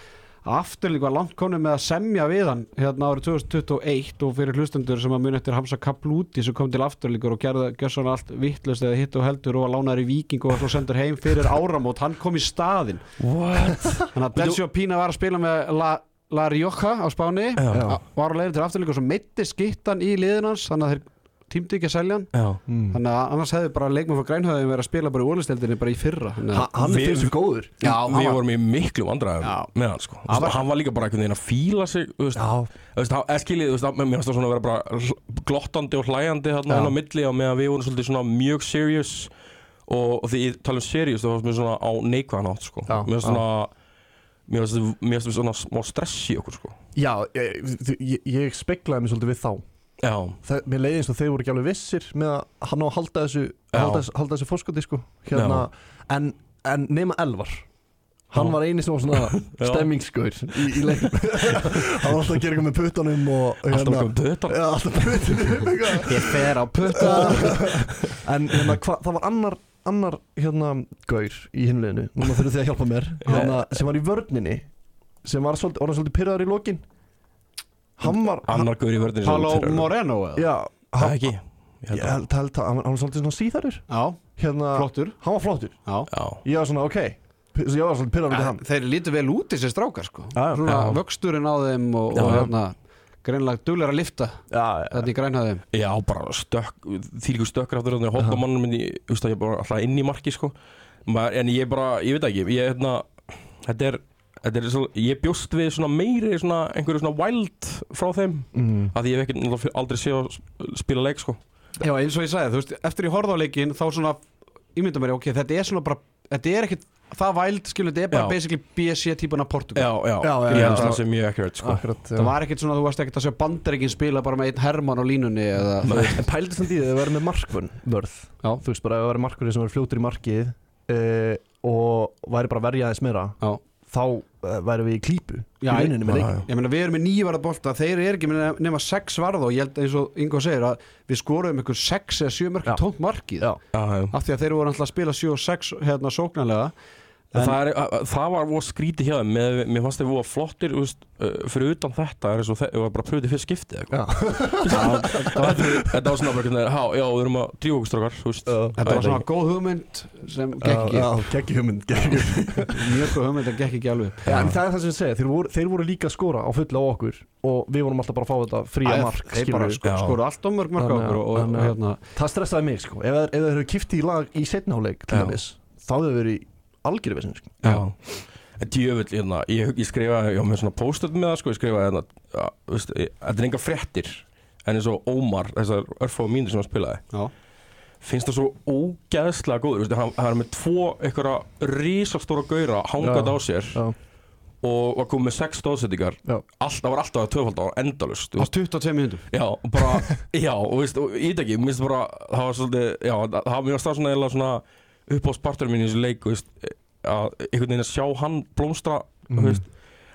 Speaker 1: afturlíka var langt konum með að semja við hann hérna árið 2021 og fyrir hlustendur sem að muni eftir Hamza Kaplúti sem kom til afturlíkur og gerði gjössan allt vittlust eða hitt og heldur og var lánaður í viking og var svo sendur heim fyrir áramót hann kom í staðinn
Speaker 3: What?
Speaker 1: Þannig að Delcio Pina var að spila með La, La Rioja á Spáni
Speaker 3: Já.
Speaker 1: a- var á leiðin til afturlíka og svo meitti skittan í liðin hans þannig að þeir tímdi ekki að selja hann
Speaker 3: Já
Speaker 2: Mm.
Speaker 1: þannig að annars hefði bara leikmann frá grænhöðum verið að spila bara í úrlisteldinni bara í fyrra þannig
Speaker 2: Ha-
Speaker 1: að
Speaker 2: hann
Speaker 3: Við-
Speaker 2: er þessu góður
Speaker 1: Já, hann
Speaker 3: Við
Speaker 1: var-
Speaker 3: vorum í miklu
Speaker 1: Já.
Speaker 3: vandræðum með hann sko Þú veist,
Speaker 1: var-
Speaker 3: Hann var líka bara einhvern veginn að fíla sig Þú veist,
Speaker 2: já,
Speaker 3: þú veist, hann- eða skilið, þú veist, hann- mér finnst það svona að vera bara hl- glottandi og hlæjandi þarna
Speaker 1: Já.
Speaker 3: hann á milli og meðan við vorum svolítið svona mjög serious og, og því ég tala um serious þá fannst mér svona á neikvæðan átt sko
Speaker 2: Já,
Speaker 3: Mér finnst svona Mér finnst mér finnst svona smá stress í okkur sko
Speaker 2: já ég, ég, ég speklaði mér svolítið við þá
Speaker 3: Já,
Speaker 2: það, mér leiði eins og þeir voru ekki alveg vissir með að hann á að halda þessu
Speaker 3: Já.
Speaker 2: halda, þessu- halda þessu fórskoti sko hérna, en, en nema Elvar hann
Speaker 3: Já.
Speaker 2: var eini sem var svona
Speaker 3: Já.
Speaker 2: stemmingsgur í, í leik hann var alltaf að gera eitthvað með puttunum og og
Speaker 3: alltaf okkur um þetta
Speaker 2: já, alltaf puttunum eitthvað.
Speaker 1: ég fer á putta
Speaker 2: en hérna, hva, það var annar annar hérna gaur í hinleginu núna þurfum þið að hjálpa mér hérna, sem var í vörninni sem var svolítið, orðinn svolítið pyrraður í lokin hann var hann,
Speaker 3: Annar guður í verðinu
Speaker 1: Paulo Moreno eða?
Speaker 2: já,
Speaker 3: Það
Speaker 2: hann,
Speaker 3: ekki Ég held
Speaker 2: ég
Speaker 3: að-
Speaker 2: held held að hann, var- hann var svolítið svona síðarur
Speaker 1: já,
Speaker 2: hérna,
Speaker 1: flottur
Speaker 2: hann var flottur
Speaker 1: já.
Speaker 3: Já
Speaker 2: ég var svona ok P- svo ég var svona pyrrað með hann
Speaker 1: þeir lítu vel út þessi strákar sko
Speaker 2: já,
Speaker 1: svona
Speaker 3: Já.
Speaker 1: vöxturinn á þeim og,
Speaker 3: Já.
Speaker 1: og hérna greinlega duglegar að lifta
Speaker 2: já,
Speaker 1: þetta í grænhöðum
Speaker 3: Já, bara stökk, þýlíku stökkur aftur þannig að hoppa mannum inn í, þú veist að ég er bara alltaf inn í marki sko Ma, En ég bara, ég veit það ekki, ég hérna, þetta er, þetta er svo, ég bjóst við svona meiri svona einhverju svona wild frá þeim
Speaker 2: mm.
Speaker 3: Af því ég hef ekki náttúrulega fyr- aldrei séð að sp- spila leik sko
Speaker 1: Já, eins og ég sagði, þú veist, eftir ég horfði á leikinn þá svona, ímynda mér, ok, þetta er svona bara, þetta er ekkit, það væld, skilur, þetta er bara
Speaker 3: Já.
Speaker 1: basically BSC típan af Portugal.
Speaker 3: Já,
Speaker 2: Já,
Speaker 3: já,
Speaker 2: já, já. Ah,
Speaker 3: ég held að það sé mjög accurate sko
Speaker 2: akkurat
Speaker 1: Það var ekkit svona, þú varst ekkit að sjá bandaríkinn spila bara með einn Herman á línunni eða,
Speaker 2: en pældi samt í því að vera með markvörn vörð
Speaker 1: Já.
Speaker 2: þú veist bara að vera markvörn sem var fljótur í markið uh, og væri bara að verja aðeins meira
Speaker 1: já.
Speaker 2: þá uh, væri við í klípu
Speaker 1: Já,
Speaker 2: í rauninni með
Speaker 3: já,
Speaker 2: leikin
Speaker 1: Ég meina, við erum með nýju varða bolta, þeir eru ekki með nema sex varða og ég held eins og Ingo segir að við skoruðum ykkur sex eða sjö mörg
Speaker 2: Já.
Speaker 1: tómt markið.
Speaker 2: Já.
Speaker 3: Já, já
Speaker 1: Af því að þeir voru alltaf að spila sjö og sex hérna sóknarlega. En-
Speaker 3: Það, er, að- að- það var voða skrítið hjá þeim, með, mér fannst þeir voða flottir, þú veist, uh, fyrir utan þetta er eins og þeir þeir voru bara pröfðið fyrir skiptið eitthvað. Þetta var svona bara einhvern veginn, "Há, já, við erum að drífa okkur strókar, þú veist.
Speaker 2: Já.
Speaker 1: Þetta
Speaker 3: veit
Speaker 1: var svona
Speaker 3: ekki.
Speaker 1: góð hugmynd sem gekk
Speaker 2: Já,
Speaker 1: ekki,
Speaker 2: já, geggi hugmynd geggi hugmynd.
Speaker 1: mjög góð hugmynd en gekk ekki alveg. upp.
Speaker 2: Já, en það er það sem ég segja, þeir voru, þeir voru líka að skora á fulla á okkur og við vorum alltaf bara að fá þetta fría
Speaker 1: Æ,
Speaker 2: mark
Speaker 1: þeir
Speaker 2: skilur
Speaker 1: bara
Speaker 2: við.
Speaker 1: sko,
Speaker 3: Já.
Speaker 1: skoru allt á mörg mörg á
Speaker 2: Þannig að-
Speaker 1: okkur og, og,
Speaker 2: þannig
Speaker 1: og
Speaker 2: að-
Speaker 1: hérna
Speaker 2: Það stressaði mig sko Ef þeir- ef þeir eru kipti í lag í setnáleik til
Speaker 3: Já.
Speaker 2: dæmis Þá hefur þeir verið í algjörðu vesinu sko
Speaker 3: Já En djöfull, hérna, ég, ég skrifaði, ég var með svona post-it með það, sko, ég skrifaði, hérna, að, þú veist, ég- þetta er enga fréttir, en eins og Ómar, þessar örfáðu mínir sem hann spilaði,
Speaker 1: já,
Speaker 3: finnst það svo ógeðslega góður, veist, hann, hann er með tvo einhverja risastóra gauðra hangað
Speaker 2: Já.
Speaker 3: á sér
Speaker 2: Já,
Speaker 3: og var komið með sex stóðsettingar,
Speaker 2: já,
Speaker 3: alltaf var alltaf að töfald á endalust,
Speaker 1: á 22 mínútur
Speaker 3: Já, og bara, já, og veist, og ég veit ekki, mér finnst bara, það var svolítið, já, það það var mjög stað svona eiginlega svona upp á spartur mín í þessu leik, þú veist, að einhvern veginn að sjá hann blómstra, þú veist,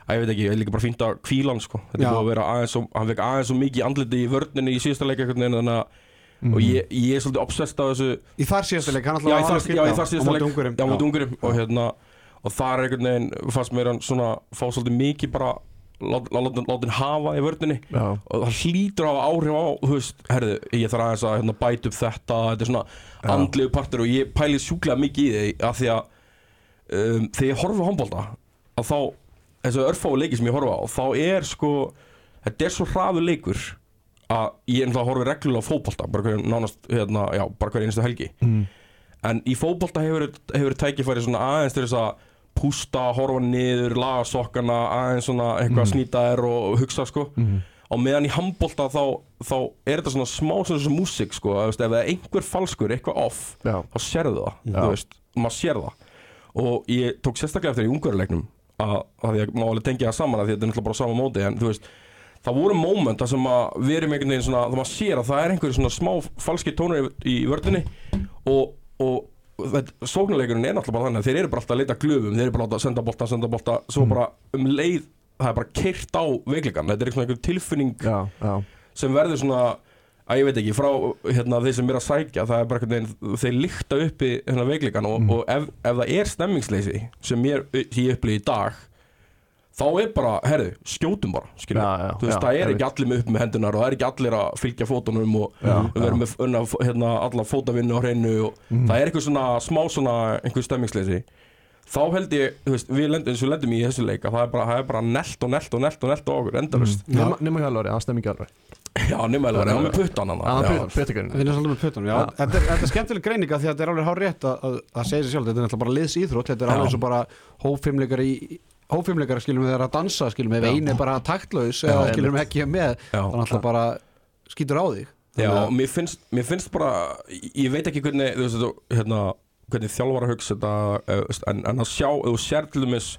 Speaker 3: að ég veit ekki, ég er líka bara fínt að kvíla hann, sko,
Speaker 1: Já.
Speaker 3: þetta er búið að vera aðeins og, hann vekk aðeins og mikið andliti í vörninni í síðasta leik einhvern veginn, þannig að og ég, ég er svolítið obsessed af þessu
Speaker 1: Í þar síðasta leik, hann alltaf
Speaker 3: já,
Speaker 1: var
Speaker 3: ég
Speaker 1: alveg
Speaker 3: þarf, já,
Speaker 1: skýrna
Speaker 3: ég þarf
Speaker 1: á
Speaker 3: síðasta
Speaker 1: móti
Speaker 3: leik
Speaker 1: ungurum
Speaker 3: já, múti ungurum og hérna og þar er einhvern veginn fannst mér hann svona fá svolítið mikið bara látin lát, lát, lát hafa í vördunni
Speaker 2: Já.
Speaker 3: og það hlýtur að hafa áhrif á þú veist, herðu, ég þarf aðeins að hérna, bæta upp þetta þetta er svona andlegu partur og ég pæli sjúklega mikið í því af því að um, þegar ég horfa á handbólta að þá, þessu örfáu leiki sem ég horfa á þá er sko, þetta er svo hraðu leikur að ég ennþá horfi reglulega á fótbolta bara hverju nánast, hérna, já, bara hverju einstu helgi mm. en í fótbolta hefur hefur tækifæri svona aðeins til þess að pústa, horfa niður, laga sokkana aðeins svona eitthvað mm. snýta þér og, og hugsa sko og meðan í handbólta þá, þá er þetta svona smá svona svona músík sko, að, þú veist, ef það er einhver falskur, eitthvað off
Speaker 2: Já.
Speaker 3: þá sérðu það, þú veist, maður sér það og ég tók sérstaklega eftir í ungarleiknum að, að því að maður alveg tengja það saman að því að þetta er náttúrulega bara á sama móti en þú veist, það voru moment þar sem að við erum einhvern veginn svona, þá maður sér að það er einhverju svona smá falski tónur í, í vördunni og, og þetta, sóknuleikurinn er náttúrulega bara þannig að þeir eru bara alltaf að leita glöfum, þeir eru bara að láta senda bolta, senda bolta, svo bara um leið það er bara keirt á veikleikan, þetta er einhvern veginn tilfinning
Speaker 2: Já, já,
Speaker 3: sem verður svona að ég veit ekki, frá hérna, þeir sem er að sækja það er bara einhvern veginn, þeir lykta uppi hérna, veikleikan og,
Speaker 2: Mhm.
Speaker 3: og ef, ef það er stemmingsleysi sem ég, sem ég upplýði í dag þá er bara, herðu, skjótum bara skilur,
Speaker 2: Já, já,
Speaker 3: þú veist,
Speaker 2: já,
Speaker 3: það er
Speaker 2: einmitt.
Speaker 3: ekki allir með upp með hendunar og það er ekki allir að fylgja fótunum og
Speaker 2: Já, Mhm.
Speaker 3: við verðum með unna, hérna, alla fótavinnu á hreinu og það er eitthvað svona smá svona einhver stemmingsleysi þá held ég, þú veist, við lendum, eins og við lendum í þessu leika, það er bara, það er bara nelt og nelt og nelt og nelt á okkur, endalust
Speaker 2: nema, nema hjálfari, það stemmi ekki alveg
Speaker 3: Já, nema alveg, hann með puttan hann
Speaker 2: Það
Speaker 3: já.
Speaker 2: er betikkurinn
Speaker 1: Við erum svolítið með puttunum, já.
Speaker 2: Já.
Speaker 1: Þetta er, þetta er skemmtileg greininga því að þetta er alveg hár rétt að, að, að segja sér sjálf. Þetta er náttúrulega bara liðsýþrótt, þetta er
Speaker 3: Já.
Speaker 1: alveg eins og bara hófimleikar í hófimleikar skilum við þeirra að dansa skilum við ef
Speaker 2: Já.
Speaker 1: einu er bara taktlaus eða
Speaker 2: einmitt.
Speaker 1: skilum við ekki er með
Speaker 3: Já.
Speaker 1: þannig alltaf bara skýtur á þig
Speaker 3: Já,
Speaker 1: Þannig
Speaker 3: og mér finnst, mér finnst bara ég- Ég veit ekki hvernig, þú veist, þú- hérna hvernig þjálfara hugsa þetta eh, veist, en, en að sjá, ef þú sér til dæmis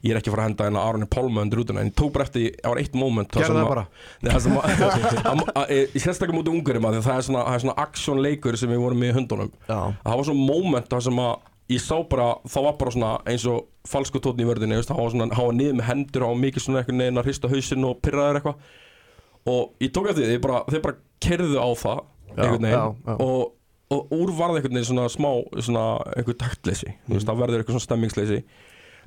Speaker 3: Ég er ekki að fara að henda hérna Aroni Pálma undir rútuna en ég tók bara eftir, í- það var eitt moment þar
Speaker 1: Gerðu
Speaker 3: sem
Speaker 1: það
Speaker 3: að-
Speaker 1: bara.
Speaker 3: Nei, það sem að- að- að- e, Í sérstaklega mútið ungurum að því að það er svona, það er svona action leikur sem við vorum með í höndunum
Speaker 2: Já.
Speaker 3: Það var svona moment þar sem að ég sá bara, það var bara svona eins og falsku tótni í vörðinni, þú veist, það var svona hann var niður með hendur, hann var mikið svona einhvern veginn að hrista hausinn og pyrraður eitthvað og ég tók eftir því, þeir bara, þeir bara kerðu á það einhvern veginn
Speaker 2: já, já.
Speaker 3: Og, og úr varði einhvern veginn svona smá svona einhver taktleysi þú
Speaker 2: Mm.
Speaker 3: veist, það verður eitthvað svona stemmingsleysi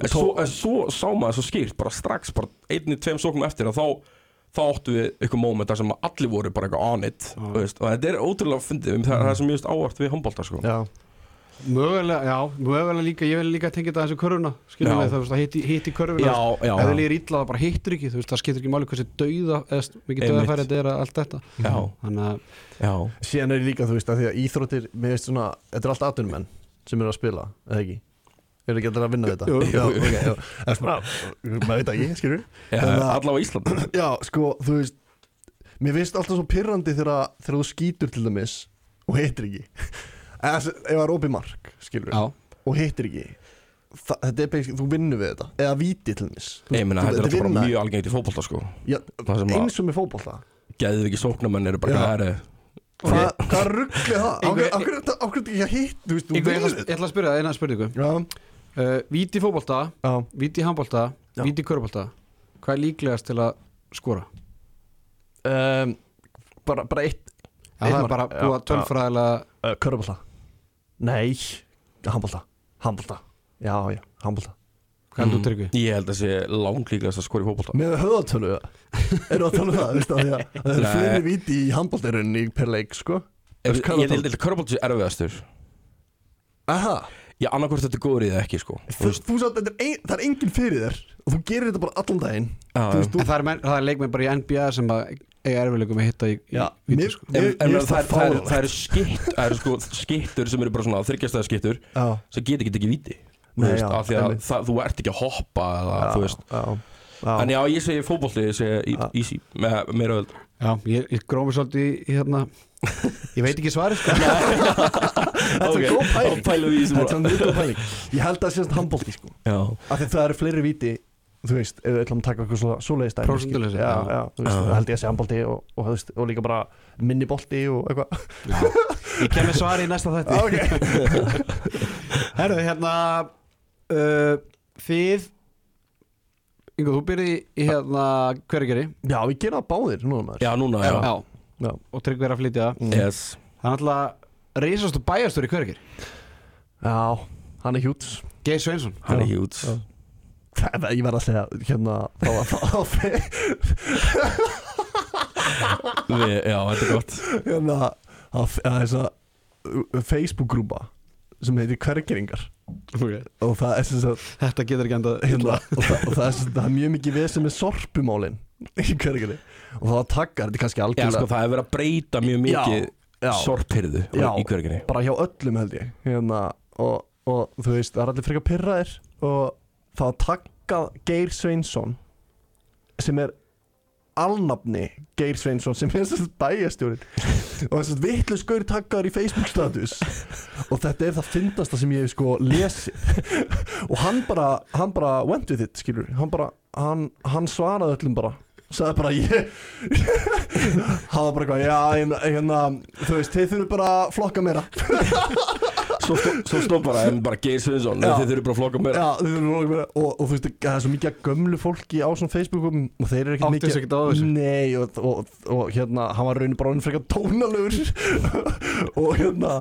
Speaker 3: en svo, en svo sá maður svo skýrt bara strax, bara einni, tveim sókum eftir að þá þá áttu við eitthvað moment þar sem að allir voru bara eitthvað on it þú veist, og þetta er ótrúlega fyndið, um það er það sem ég veist ávart við handbólta sko.
Speaker 2: Mm. Já,
Speaker 1: að mögulega, já, mögulega líka ég vil líka tengja þetta aðeins í körfuna skilum
Speaker 3: Já.
Speaker 1: við það, hitt í, hitt í körfuna
Speaker 3: Já, já.
Speaker 1: ef þið líður illa það bara hittur ekki þú veist, það skiptir ekki máli hversu dauða eða mikið
Speaker 3: Einmitt.
Speaker 1: dauðafæri þetta er að allt þetta
Speaker 3: já,
Speaker 1: þannig að
Speaker 3: já,
Speaker 2: síðan er ég líka þú veist að því að íþróttir mér veist svona, þetta er allt atvinnumenn sem eru að spila, eða ekki eru ekki allir að vinna þetta
Speaker 1: Jú, jú,
Speaker 2: já, ok, já. En svona, maður veit það ekki, skilur
Speaker 3: já allavega í Ísland
Speaker 2: já, sko, þú veist mér finnst alltaf svo pirrandi þegar, þegar þú skýtur til dæmis og hittir ekki eða þess- ef það er opið mark, skilur
Speaker 1: Já.
Speaker 2: og hittir ekki Þa, þetta er beinslega, þú vinnur við þetta eða víti til dæmis Þú-
Speaker 3: ég meina,
Speaker 2: þú-
Speaker 3: þetta er
Speaker 2: þetta
Speaker 3: alltaf bara
Speaker 2: vinna-
Speaker 3: mjög algengt í fótbolta sko.
Speaker 2: já,
Speaker 3: það sem að-
Speaker 2: eins og með fótbolta
Speaker 3: geðu ekki sóknarmenn eru bara
Speaker 2: Já.
Speaker 3: hvað er
Speaker 2: Hva, hvað ruggli það? Ákveð
Speaker 1: Einhver-
Speaker 2: er þetta ákveð er þetta ekki að hitt? Þú veist, þú
Speaker 1: Yngvi, ég
Speaker 2: vinnur
Speaker 1: ætla- ég
Speaker 2: þetta
Speaker 1: ætla að spyrja það eina spurningu
Speaker 2: Já,
Speaker 1: uh, Víti í fótbolta,
Speaker 2: já
Speaker 1: víti í handbolta
Speaker 2: Já.
Speaker 1: Víti í körbólta, hvað er líklegast til að skora?
Speaker 2: um, bara, bara eitt
Speaker 1: Já, það er bara búið að
Speaker 2: tölfra
Speaker 1: tölfræðilega
Speaker 2: uh, Körbólta Nei, handbólta Handbólta Já, já, handbólta
Speaker 1: Hvað
Speaker 2: Mm.
Speaker 1: heldur þú tryggvi?
Speaker 3: Mm. ég held að sé langlíklegast að skora í fótbolta
Speaker 2: Með höðatölu Erum að tala um það, veist það því að Það er
Speaker 3: Nei.
Speaker 2: fyrir viti í handbóltirinn í per leik, sko
Speaker 3: Ef-
Speaker 2: Þú veist, hvað er
Speaker 3: Ég
Speaker 2: það?
Speaker 3: held að körbólti sé erfiðastur
Speaker 2: Aha,
Speaker 3: Já, annarkvort þetta er góður í það ekki sko
Speaker 2: þú, þú satt, þetta er ein, það er enginn fyrir þér Og þú gerir þetta bara allan daginn
Speaker 3: Já,
Speaker 2: Þú veist,
Speaker 1: En
Speaker 2: þú
Speaker 1: það er, menn, það er leikmenn bara í NBA sem að eiga erfiðleikum að hitta í, í
Speaker 2: Já,
Speaker 1: víti,
Speaker 2: mér,
Speaker 1: sko.
Speaker 3: En,
Speaker 2: mér,
Speaker 3: en
Speaker 2: mér finnst
Speaker 3: það, það, það, er,
Speaker 2: fáránlegt.
Speaker 3: það er skitt Það eru sko skittur sem eru bara svona þryggjastæða skittur
Speaker 2: Já,
Speaker 3: sem get ekki ekki víti Þú
Speaker 2: Nei,
Speaker 3: veist,
Speaker 2: já,
Speaker 3: af því að
Speaker 2: einmitt.
Speaker 3: það, þú ert ekki að hoppa eða, þú
Speaker 2: já,
Speaker 3: veist
Speaker 2: já, já.
Speaker 3: En já, ég segi fótbolti, ég segi í- easy með meira öll
Speaker 1: Já, ég, ég grómi svolítið í- í hérna Ég veit ekki svarið sko
Speaker 2: Þetta er góð pæling
Speaker 3: Þá pælum við í þessu
Speaker 2: Þetta er
Speaker 3: bara.
Speaker 2: mjög góð pæling Ég held að það sést handbólti sko
Speaker 3: Já,
Speaker 2: Af því það eru fleiri viti Þú veist, ef við ætlum að taka eitthvað svo, svo leiðist
Speaker 1: Prósentuleysi,
Speaker 2: Já,
Speaker 1: já.
Speaker 2: já, þú veist,
Speaker 3: Já.
Speaker 2: það held ég að sé handbólti og, og, þú veist, og líka bara minni bolti og eitthvað
Speaker 1: Ég kem með svarið í næsta þætti
Speaker 2: okay.
Speaker 1: Herðu, hérna uh, Þið Ingo, þú byrði í hérna Hvergeri
Speaker 2: Já, við gerum það báðir núna maður Mm.
Speaker 3: já núna, já
Speaker 1: Og Tryggvi er að flytja það
Speaker 3: Yes
Speaker 1: Það er náttúrulega reisastu bæjarstur í hverjir
Speaker 2: Já, hann er hjúts
Speaker 1: Geir Sveinsson
Speaker 3: hann er
Speaker 2: Já.
Speaker 3: hjúts
Speaker 2: Já. Það, ég verð að segja, hérna, þá var það
Speaker 3: Við- Já, þetta er gott
Speaker 2: hérna, á- á þessa uh, Facebook-grúpa sem heitir Hvergeringar
Speaker 1: okay.
Speaker 2: og það er sem sagt
Speaker 1: Þetta getur ekki enda
Speaker 2: hérna, og, það, og það, er, sem sagt- það er mjög mikið vesen með sorpumálin í Hvergerinni og það var takkar, þetta er kannski
Speaker 3: Já, sko,
Speaker 2: algjörlega
Speaker 3: það hefur verið að breyta mjög mikið
Speaker 2: já,
Speaker 3: sorphyrðu
Speaker 2: já,
Speaker 3: í hverginni
Speaker 2: bara hjá öllum held ég hérna, og, og þú veist, það er allir frekar pyrraðir og það var takkað Geir Sveinsson sem er alnafni Geir Sveinsson sem er þess að bæjastjórin og þess að vitlu skaur takkaður í Facebook status og þetta er það fyndasta sem ég hef sko lesi og hann bara, hann bara went with it skilur, hann bara hann, hann svaraði öllum bara sagði bara ég hann var bara eitthvað, já hérna, hérna þú veist, þið þurfum bara að flokka meira
Speaker 3: Svo, stó, svo stóð bara, en bara Geir Sveinsson
Speaker 2: Já.
Speaker 3: Þið þurfum bara að flokka mér
Speaker 2: Já, þið þurfum að loka meira og, og þú veist, það er svo mikið af gömlu fólki á svona Facebookum og þeir eru ekkert
Speaker 1: Áttu
Speaker 2: mikið
Speaker 1: sig ekkert á þessu.
Speaker 2: Nei, og, og, og, hérna, hann var raunin bara hann freka tónalögur og hérna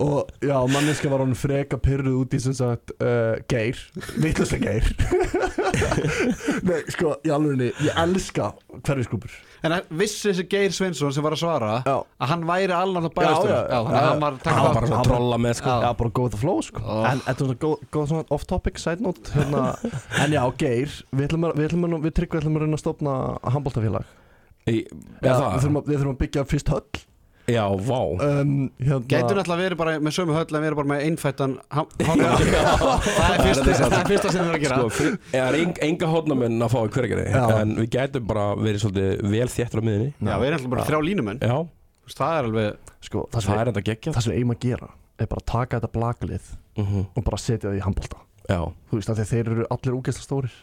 Speaker 2: og já, manneska var hann freka pyrruð út í sem sagt uh, Geir, vitluslega Geir Nei, sko, í alvegni ég elska hverfisklúpur
Speaker 1: En að- vissi þessi Geir Sveinsson sem var að svara
Speaker 2: Já.
Speaker 1: að hann væri allan að
Speaker 2: Já,
Speaker 1: bæjarstur
Speaker 2: já,
Speaker 1: þannig
Speaker 2: já,
Speaker 1: að
Speaker 2: já.
Speaker 1: hann var að
Speaker 3: Hann
Speaker 1: taka
Speaker 3: var
Speaker 1: það
Speaker 3: bara svona að trolla með sko.
Speaker 1: Já.
Speaker 2: Já, bara go with the flow sko
Speaker 1: Oh.
Speaker 2: En þetta er svona góð- góð svona off topic side note hérna. En já, Geir, við, ætlum að, við, ætlum að, við tryggum við ætlum að reyna að stofna handbóltafélag
Speaker 3: Í,
Speaker 2: Já,
Speaker 3: Er
Speaker 2: við,
Speaker 3: það?
Speaker 2: þurfum að, við þurfum að byggja fyrst höll
Speaker 3: Já, vá
Speaker 2: um, hérna,
Speaker 1: Gætur náttúrulega verið bara með sömu höll en verið bara með einfættan ham- hálfan. Það er
Speaker 3: Það er
Speaker 1: fyrsta-
Speaker 3: þetta.
Speaker 1: það er fyrsta sem þeir eru að gera
Speaker 3: Sko, fyr- eða er eng- enga hótnamenn að fá í hverginni
Speaker 2: Já.
Speaker 3: En við gætum bara verið svolítið vel þéttur á miðinni
Speaker 1: Já, við erum alltaf bara
Speaker 2: Já.
Speaker 1: þrjá línumenn
Speaker 3: Já,
Speaker 1: Þú veist, Það er alveg
Speaker 2: sko, það,
Speaker 3: það
Speaker 2: sem
Speaker 3: er þetta geggjað
Speaker 2: við, það sem við eigum að gera er bara að taka þetta blaklið
Speaker 3: Mhm.
Speaker 2: og bara setja það í handbólta
Speaker 3: Já,
Speaker 2: Þú veist, af því að þeir eru allir úgeðsla stórir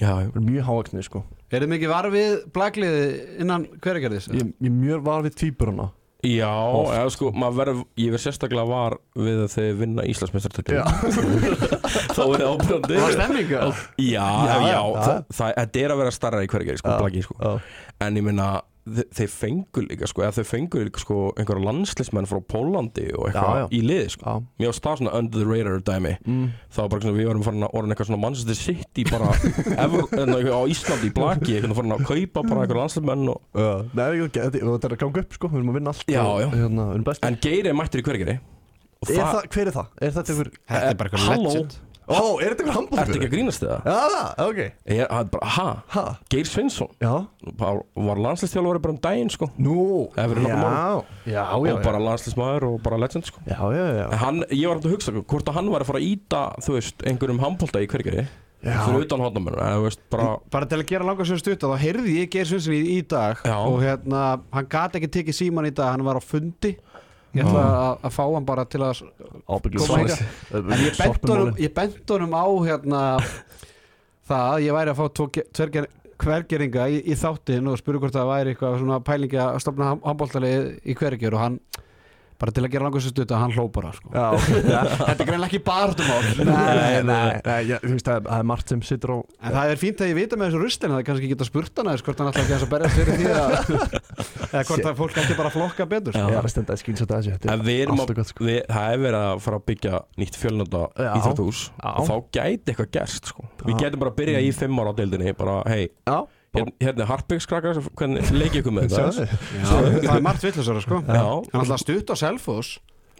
Speaker 3: já,
Speaker 2: Þeir eru mjög hávaksnir sko
Speaker 1: Er þið mikið varfið blagliði innan hverjargerðis?
Speaker 2: Ég, ég er mjög var við tvíburana
Speaker 3: já
Speaker 2: Oft.
Speaker 3: eða, sko, maður verð, Ég verð sérstaklega var við að þeir vinna Íslandsmeistartökkum Þá er það ábyrgandi
Speaker 1: Það var stemningu
Speaker 3: Já,
Speaker 2: Já, já,
Speaker 3: já, já,
Speaker 2: já.
Speaker 3: Það, það, þetta er að vera starra í hvergeri sko, blaki, sko. En ég meina, þe- þeir fengur líka sko, eða þeir fengur líka sko, einhverja landslismenn frá Pólandi og
Speaker 2: Já, já.
Speaker 3: eitthvað í liði sko.
Speaker 2: Já.
Speaker 3: Mér varst það svona under the radar dæmi
Speaker 2: Mm.
Speaker 3: Það var bara svona, við varum farin að orðin eitthvað svona Manchester City bara ever, en, á Íslandi í blaki, eitthvað farin að kaupa bara einhverja landslismenn og
Speaker 2: Uh, nei, ég- þetta þetta er að ganga upp sko, við erum að vinna allt
Speaker 3: Já,
Speaker 2: og,
Speaker 3: já.
Speaker 2: Hérna, við erum best
Speaker 3: En Geir er mættur í hvergeri og
Speaker 2: Er það, hver er það? Er þetta ykkur
Speaker 1: Þetta er bara eitthvað
Speaker 3: Halló?
Speaker 1: legend
Speaker 2: Ó, er þetta ykkur hambúrgur?
Speaker 3: ertu ekki að grínast það?
Speaker 2: Já, það, ok
Speaker 3: Ég, það er bara, ha?
Speaker 2: Ha?
Speaker 3: Geir Sveinsson
Speaker 2: Já
Speaker 3: Bara- var landslistjálfari bara um daginn sko
Speaker 2: Nú
Speaker 3: Það hefur verið nokkrum
Speaker 2: Já, já,
Speaker 3: og
Speaker 2: já
Speaker 3: bara landslismæður og bara legend sko
Speaker 2: Já, já, já
Speaker 3: En hann, ég var hægt að hugsa hvort að hann var að fara að íta þú veist, einhverjum handbólta í hvergeri fyrir
Speaker 2: Já,
Speaker 3: utan hotnamennur, en þú veist, bara
Speaker 1: Bara til að gera langar sér stutt þá heyrði ég Geir Svensson í, í dag
Speaker 3: Já.
Speaker 1: og hérna, hann gat ekki tekið síman í dag hann var á fundi Ég ætla að, að fá hann bara til að
Speaker 2: ábygglega
Speaker 1: Koma hingað. En ég bent honum, ég bent honum á hérna það að ég væri að fá tvo ge- tver ger- hvergeringa í, í þáttin og spurði hvort það væri eitthvað svona pælingi að stopna handbóltalið í hvergjör og hann bara til að gera langar sér stutt hann hló bara sko.
Speaker 2: Já, ok
Speaker 1: Þetta er greinlega ekki barðumál
Speaker 2: Nei, nei, nei, já, þú veist, það er- það er margt sem sittur á
Speaker 1: En það er fínt að ég vita með þessu rustin að það kannski geta spurt hann aðeins hvort hann alltaf ekki aðeins að berjast fyrir því að eða hvort að fólk ætti bara að flokka betur
Speaker 3: Já.
Speaker 1: sko.
Speaker 2: Ég er að stenda að skýnsa þetta þessi
Speaker 3: en við
Speaker 2: allt
Speaker 3: erum að,
Speaker 2: og gott, sko.
Speaker 3: við, það er verið að fara að byggja nýtt fjölnönda
Speaker 2: Já.
Speaker 3: íþróttús
Speaker 2: Já.
Speaker 3: og þá gæti eitthvað gerst, sko
Speaker 2: Já. Mm.
Speaker 3: Við gætum bara að byrja í fimm ára á deildinni, bara, hei,
Speaker 2: Já,
Speaker 3: hér, hérna er Harpingskrakkar, hvernig leikið ykkur með þetta?
Speaker 2: sjáðu
Speaker 1: Já, það er margt villusara sko
Speaker 3: Já,
Speaker 1: Hann alltaf stutt á Selfoss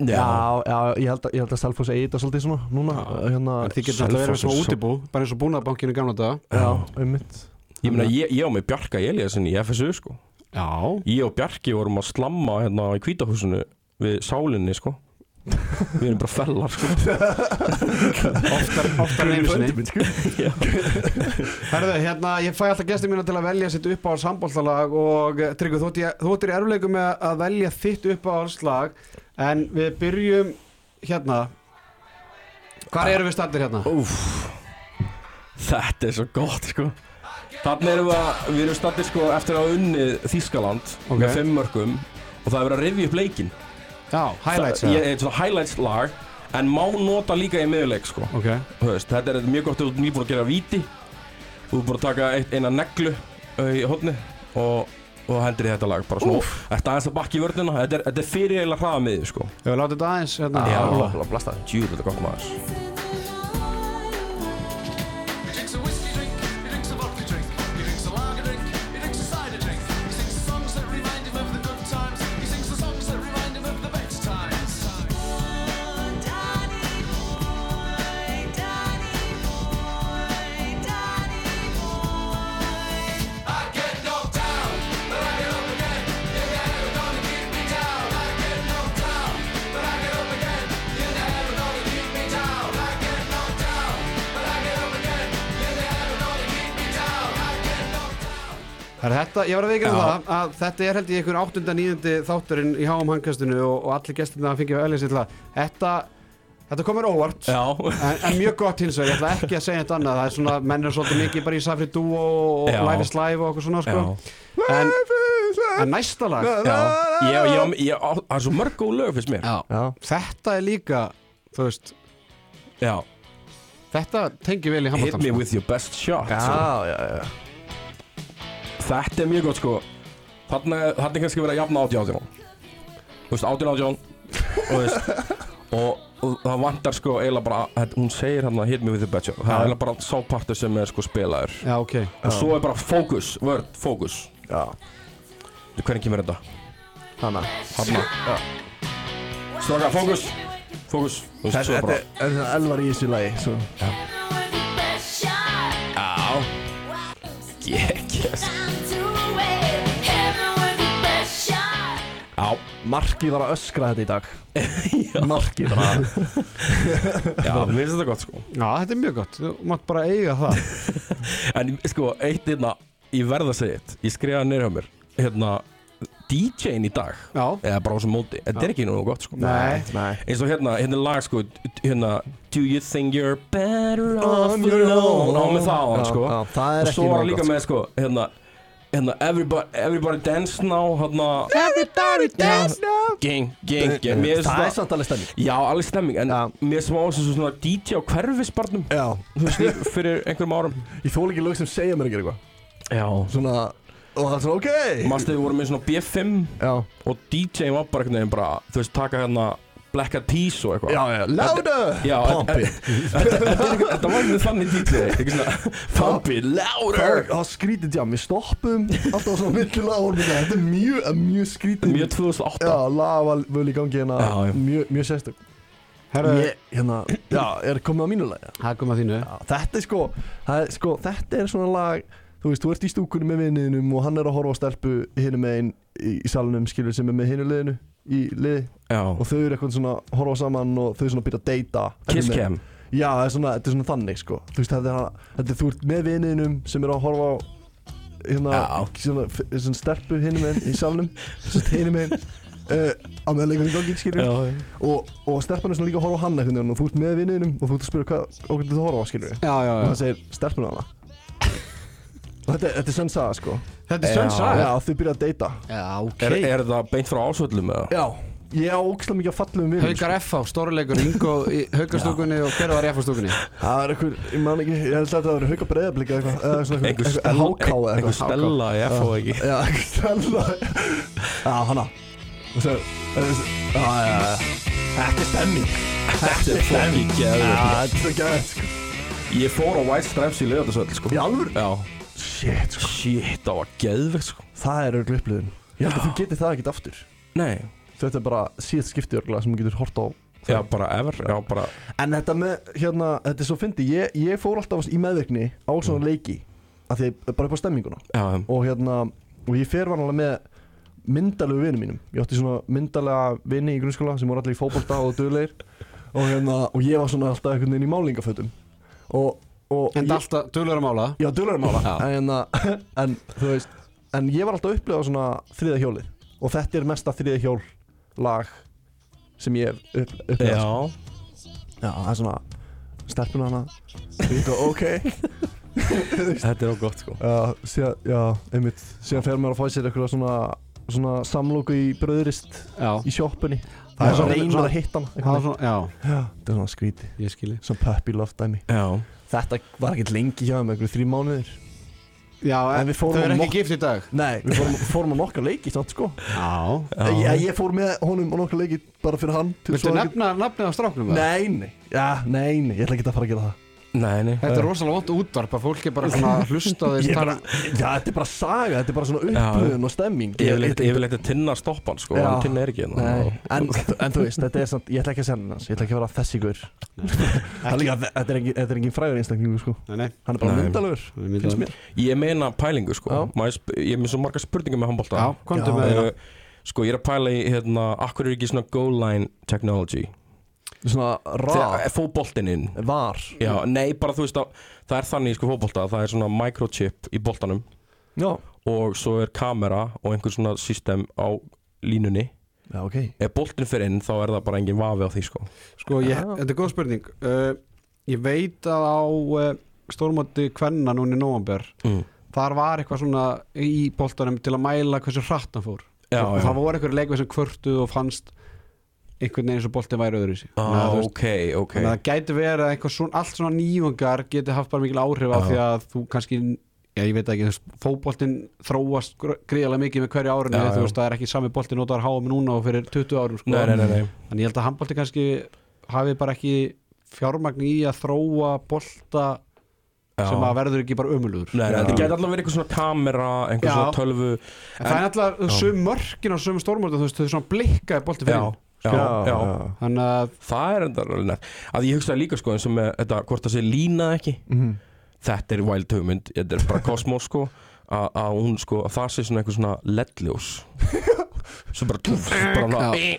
Speaker 3: já,
Speaker 2: Já, já, ég held að, ég held að Selfoss eigi þetta svolítið svona núna hérna,
Speaker 1: en þið getur alltaf verið með
Speaker 3: Selfoss
Speaker 1: svona
Speaker 3: er svo-
Speaker 1: útibú bara eins og búnaðabankinu gamla daga
Speaker 2: Já, um mitt
Speaker 3: Ég meina, ég, ég á mig Bjarka Eliasson í FSU, sko
Speaker 1: Já,
Speaker 3: Ég og Bjarki vorum að slamma hérna í kvítahúsinu við sálinni, sko Við erum bara fellar, sko
Speaker 1: oftar, oftar en einu sinni
Speaker 2: minn, sko
Speaker 1: Herðu, hérna, ég fæ alltaf gestur mína til að velja sitt upp á sambóltalag og eh, Tryggvi, þú, ert í- þú ert í erfleikum með að velja þitt upp á slag en við byrjum hérna Hvar erum við stættir hérna?
Speaker 3: Úf, þetta er svo gott sko Þannig erum við að, við erum stattið sko eftir að hafa unnið Þískaland
Speaker 1: Ok.
Speaker 3: með fimm mörgum og það er verið að rifja upp leikinn
Speaker 1: Já, highlights hérna. eða?
Speaker 3: Það ég- er svona highlights lag en má nota líka í miðuleik sko
Speaker 1: Ok,
Speaker 3: Þú veist, Þetta er þetta er mjög gott, þú ert nýbúin að gera víti Þú ert búin að taka eitt, eina neglu uh, í hotni og og hendur í þetta lag bara svona, þetta aðeins að bakka í vörnina þetta er, þetta er fyrir eiginlega hraða miði sko
Speaker 1: Ég vil láta þetta aðeins hérna,
Speaker 3: Já.
Speaker 1: róla.
Speaker 2: Blá, blasta þér
Speaker 3: djúr, þetta er gott maður
Speaker 5: He drinks a whiskey drink, he drinks a vodka drink, he drinks a lager drink, he drinks a cider drink. He sings the songs that remind him of the good times, he sings the songs that remind him of the best times. I get knocked down, but I get up again. You're never gonna keep me down. I get knocked down, but I get up again. You're never gonna keep me down. I get knocked down, but I get up again. You're never gonna keep me down. I get knocked down.
Speaker 1: Það er þetta, ég var að veikra það að þetta er held ég einhver 8. 9. þátturinn í háum hangkastinu og, og allir gestirna að fengja öðlega sér til það þetta, þetta komur óvart
Speaker 3: já,
Speaker 1: en, en mjög gott hins vegar, ég ætla ekki að segja þetta annað það er svona, menn er svolítið mikið bara í Safri Duo og
Speaker 3: Já.
Speaker 1: Life is Live og okkur svona sko.
Speaker 3: já,
Speaker 1: en, en næsta lag
Speaker 3: já ég, ég, ég, ég, á- það er svo mörg góð lög fyrst mér
Speaker 1: já.
Speaker 2: Já,
Speaker 1: þetta er líka þú veist,
Speaker 3: já,
Speaker 1: þetta tengir vel í sko.
Speaker 3: hit
Speaker 1: handbóltan
Speaker 3: me with your best shot
Speaker 2: já,
Speaker 3: sko.
Speaker 2: já, já.
Speaker 3: þetta er mjög gott sko þarna, þarna er kannski verið að jafna 18-18 þú veist 18-18 og, þú veist, og, og það vantar sko eiginlega bara þetta- hún segir hérna hit me with the betcha það er eiginlega bara sá partur sem er sko spilaður
Speaker 1: já, ok,
Speaker 3: og svo er bara fókus, vörð, fókus
Speaker 2: já.
Speaker 3: hvernig kemur þetta?
Speaker 2: Þannig að
Speaker 3: Hanna Stráka, fókus, fókus Þú veist, svo
Speaker 2: Þetta
Speaker 3: bara
Speaker 2: er- þetta er svona elvar í þessu lagi svo.
Speaker 3: Já, yeah, yes Já,
Speaker 2: Markið var að öskra þetta í dag Markið var að
Speaker 3: já, mér finnst þetta gott sko
Speaker 1: já, þetta er mjög gott þú mátt bara eiga það
Speaker 3: En sko, eitt hérna, ég verð að segja eitt Ég skrifaði niður hjá mér Hérna, DJ-in í dag
Speaker 1: já,
Speaker 3: Eða bara á þessum móti, þetta er ekki nú gott sko
Speaker 1: nei,
Speaker 2: Nei
Speaker 3: Eins og hérna, hérna er lag sko Hérna, do you think you're better off
Speaker 2: On your
Speaker 3: alone
Speaker 2: own.
Speaker 3: Ná með það á hann
Speaker 2: Já,
Speaker 3: sko
Speaker 2: já, það er
Speaker 3: Og svo
Speaker 2: ekki
Speaker 3: var hann
Speaker 2: nóg
Speaker 3: líka
Speaker 2: gott,
Speaker 3: með sko hérna, hérna everybody, everybody dance now hérna,
Speaker 1: everybody dance now
Speaker 3: Gang, gang, gang Mér finnst
Speaker 2: Það er
Speaker 3: það-
Speaker 2: samt alveg stemming
Speaker 3: Já, alveg stemming En
Speaker 2: Já.
Speaker 3: mér er smá sem svona DJ á hverfisbarnum
Speaker 2: Já
Speaker 3: Þú veist, ég- fyrir einhverjum árum
Speaker 2: Ég þól ekki lög sem segja mér ekki eitthvað
Speaker 3: Já
Speaker 2: Svona Og það er svona ok
Speaker 3: Manstu við vorum með svona B5
Speaker 2: Já
Speaker 3: Og DJ var bara einhvern veginn bara Þú veist, taka hérna Black Eyed Peas og eitthvað
Speaker 2: Já, já Louder
Speaker 3: Já, en-
Speaker 2: Pump
Speaker 3: en-
Speaker 2: it
Speaker 3: Þetta þetta er einhvern- þetta var einhvern veginn þannig DJ Ekki svona Pump it
Speaker 2: Það
Speaker 3: louder
Speaker 2: það skrítið já, við stoppum alltaf svona millilega orðmynda Þetta er mjög, eh, mjög skrítið
Speaker 3: Mjög 2008
Speaker 2: Já, laga var völ í gangi hérna
Speaker 3: Já, já.
Speaker 2: Mjög, mjög sérstök
Speaker 1: Herra,
Speaker 2: Ég, hérna, já, er komið á mínu lagi
Speaker 1: það kom að þínu
Speaker 2: Já, þetta er sko, það er sko, þetta er svona lag Þú veist, þú ert í stúkunni með vinniðinum og hann er að horfa á stelpu hinum megin í, í salunum skilur sem er með hinu liðinu í liði
Speaker 3: Já
Speaker 2: og þau eru eitthvað svona að horfa saman og þau svona byrja að deyta
Speaker 3: Kiss
Speaker 2: Einhvern
Speaker 3: cam
Speaker 2: veginn. Já, það er svona, þetta er svona þannig sko Þú veist, þetta er, hann- þetta er þú ert með vinniðinum sem er að horfa á hérna,
Speaker 3: Já.
Speaker 2: svona, f- svona stelpu hinum megin í salunum svona hinum megin uh, á meðan leikur í gangi skilur
Speaker 3: Já
Speaker 2: og, og stelpan er svona líka að horfa á hann einhvern veginn og þú ert með vinniðinum og þú ert að spyrja hvað okkur þú horfa á skilur
Speaker 1: já, já,
Speaker 2: og
Speaker 1: já
Speaker 2: það segir stelpun á hana og þetta, þetta er sönn saga sko
Speaker 1: Þetta er sönn
Speaker 3: Já.
Speaker 1: saga
Speaker 2: já, þau byrja að deyta
Speaker 1: Já, ok
Speaker 3: Er, er það beint frá ásvöllum eða?
Speaker 2: já ég á ógislega mikið að falla um vinni
Speaker 1: Haukar FH, stóruleikur, Ingo í haukastúkunni og hver var í FH-stúkunni?
Speaker 2: það er einhver, ég man ekki, ég held að þetta var hauka breyðablika eitthvað eða svona
Speaker 3: Einhver
Speaker 2: einhver-
Speaker 3: stella-
Speaker 2: einhver háká eða
Speaker 3: einhver stella í FH ekki.
Speaker 2: já, einhver stella já, hana og svo já, já, já þetta er stemming sko.
Speaker 3: Þetta er fucking
Speaker 2: já,
Speaker 3: geðveikt.
Speaker 2: þetta er svo gæðið sko
Speaker 3: Ég fór á White Stripes í lögatarsöld sko
Speaker 2: í alvöru
Speaker 3: Já
Speaker 2: shit sko
Speaker 3: Shit, það var geðvegt sko
Speaker 2: það er örglu upplöðun ég held að þú getur það ekkert aftur
Speaker 3: Nei
Speaker 2: þetta er bara síðast skipti örgla sem þú getur hort á
Speaker 3: Já, bara ever Já, bara
Speaker 2: En þetta með, hérna, þetta er svo fyndi ég, ég fór alltaf í meðvirkni á
Speaker 1: Mm.
Speaker 2: svona leiki af því að bara upp á stemminguna
Speaker 3: Já,
Speaker 2: og hérna, og ég fer vanalega með myndalegu vinum mínum ég átti svona myndalega vini í grunnskóla sem voru allir í fótbolta og duglegir og hérna, og ég var svona alltaf einhvern veginn í málingafötum og, og
Speaker 1: En
Speaker 2: ég-
Speaker 1: alltaf, um duðlur að mála
Speaker 2: Já, duglegum ála
Speaker 1: Já.
Speaker 2: en, hérna, en þú veist En ég var alltaf að upplifa svona þriða hjólið Og þetta er mesta þriða hjól lag Sem ég hef upp, upplifað
Speaker 3: já.
Speaker 2: Já, það er svona Stelpuna hana Og ég góð, ok
Speaker 3: Þetta er á gott sko
Speaker 2: Já, síðan, já, einmitt Síðan fer maður að fá sér eitthvað svona Svona samlóku í bröðurist
Speaker 1: Já,
Speaker 2: Í sjoppunni
Speaker 1: Það er
Speaker 2: Það er
Speaker 1: svona-
Speaker 2: svona reynir
Speaker 1: svona-
Speaker 2: að hitta hana
Speaker 1: það var
Speaker 2: einhvern
Speaker 1: svona, já,
Speaker 2: veginn. Já, Þetta er svona skríti
Speaker 1: ég skilji
Speaker 2: Svona puppy love dæmi
Speaker 3: Já
Speaker 2: Þetta var ekkert lengi hjá þeim, einhverju þrjú mánuðir
Speaker 1: Já,
Speaker 2: En við fórum
Speaker 1: þau eru
Speaker 2: á
Speaker 1: ekki
Speaker 2: mokk-
Speaker 1: gift í dag
Speaker 2: Nei, við fórum, fórum á nokkar leiki samt sko
Speaker 1: Já
Speaker 2: ég, ég fór með honum á nokkar leiki bara fyrir hann til
Speaker 1: Viltu
Speaker 2: svo að-
Speaker 1: nefna nafnið á stráknum? eða?
Speaker 2: Nei, nei, já, nei, nei, ég ætla ekki að fara að gera það
Speaker 3: Nei, nei
Speaker 1: Þetta er rosalega vond útvarp að fólk er bara svona að hlusta á þeir
Speaker 2: Ég er bara,
Speaker 1: tala
Speaker 2: já, þetta er bara saga, þetta er bara svona
Speaker 3: Já.
Speaker 2: upplöðun og stemming Ég-
Speaker 3: Yfirleitt
Speaker 2: ég-
Speaker 3: yfirleitt er tinnar stoppan sko
Speaker 2: Já.
Speaker 3: En tinnar er ekki hérna
Speaker 2: Nei, en, en þú veist, þetta er samt, ég ætla ekki að segja hans, ég ætla ekki að vera þessi gur Það er líka, þetta er engin, þetta er engin frægur einstaklingu, sko
Speaker 1: Nei, nei
Speaker 2: Hann er bara
Speaker 3: Nei.
Speaker 2: myndalögur,
Speaker 1: Hann er myndarlegur.
Speaker 2: finnst mér
Speaker 3: Ég meina pælingu sko
Speaker 2: Já.
Speaker 3: Maður sp- Ég er með svo marga spurningar með handbólta
Speaker 1: Já, komdu
Speaker 2: Já.
Speaker 1: með
Speaker 3: uh,
Speaker 1: þeirna
Speaker 3: Sko ég er að pæla í hérna Akkur er ekki svona goal line technology
Speaker 2: Svona
Speaker 3: Þegar
Speaker 2: ra,
Speaker 3: fóboltinn inn
Speaker 2: var
Speaker 3: Já, nei bara þú veist að Það er þannig í sko fóbolta Það er svona microchip í boltanum
Speaker 2: Já,
Speaker 3: Og svo er kamera og einhver svona system á línunni
Speaker 2: já, ok
Speaker 3: Ef boltinn fyrir inn þá er það bara engin vafi á því sko
Speaker 1: Sko, ég,
Speaker 2: Já.
Speaker 1: þetta er góð spurning uh, Ég veit að á uh, stórmóti kvenna núna í november
Speaker 3: Mm.
Speaker 1: þar var eitthvað svona í boltanum til að mæla hversu hratt hann fór
Speaker 3: Já,
Speaker 1: og
Speaker 3: já.
Speaker 1: það voru eitthvað leikveð sem kvörtuð og fannst einhvern veginn eins og bolti væri öðru í sig
Speaker 3: ah, Ok, ok
Speaker 1: þannig að það gæti verið að eitthvað svona, allt svona nýjungar geti haft bara mikil áhrif á
Speaker 3: Já.
Speaker 1: því að þú kannski Já, ég veit ekki, þú veist, fótboltinn þróast gr- gríðarlega mikið með hverju árinu
Speaker 3: Já,
Speaker 1: þú
Speaker 3: já.
Speaker 1: veist, það er ekki sami bolti notaður háum núna og fyrir 20 árum, sko
Speaker 3: Nei, nei, nei, nei.
Speaker 1: Þannig ég held að handbolti kannski hafi bara ekki fjármagn í að þróa bolta
Speaker 3: Já.
Speaker 1: sem að verður ekki bara ömulugur en
Speaker 3: Nei, nei, þetta gæti allavega verið eitthvað svona kamera, einhver
Speaker 1: Já.
Speaker 3: svona tölvu
Speaker 1: það er alltaf sum mörkin og sum stórmóta þú veist, þau svona blikkaði bolti fyrir
Speaker 3: já,
Speaker 1: inn.
Speaker 3: já, já,
Speaker 1: þannig að
Speaker 3: það er enda alveg nært Að ég hugsaði líka sko eins og með þetta, hvort það sé lína eða ekki
Speaker 2: Mhm.
Speaker 3: Þetta er wild hugmynd, þetta er bara kosmos sko að að hún sko, að það sé svona einhver svona leddljós sem bara túf, bara,
Speaker 1: Já.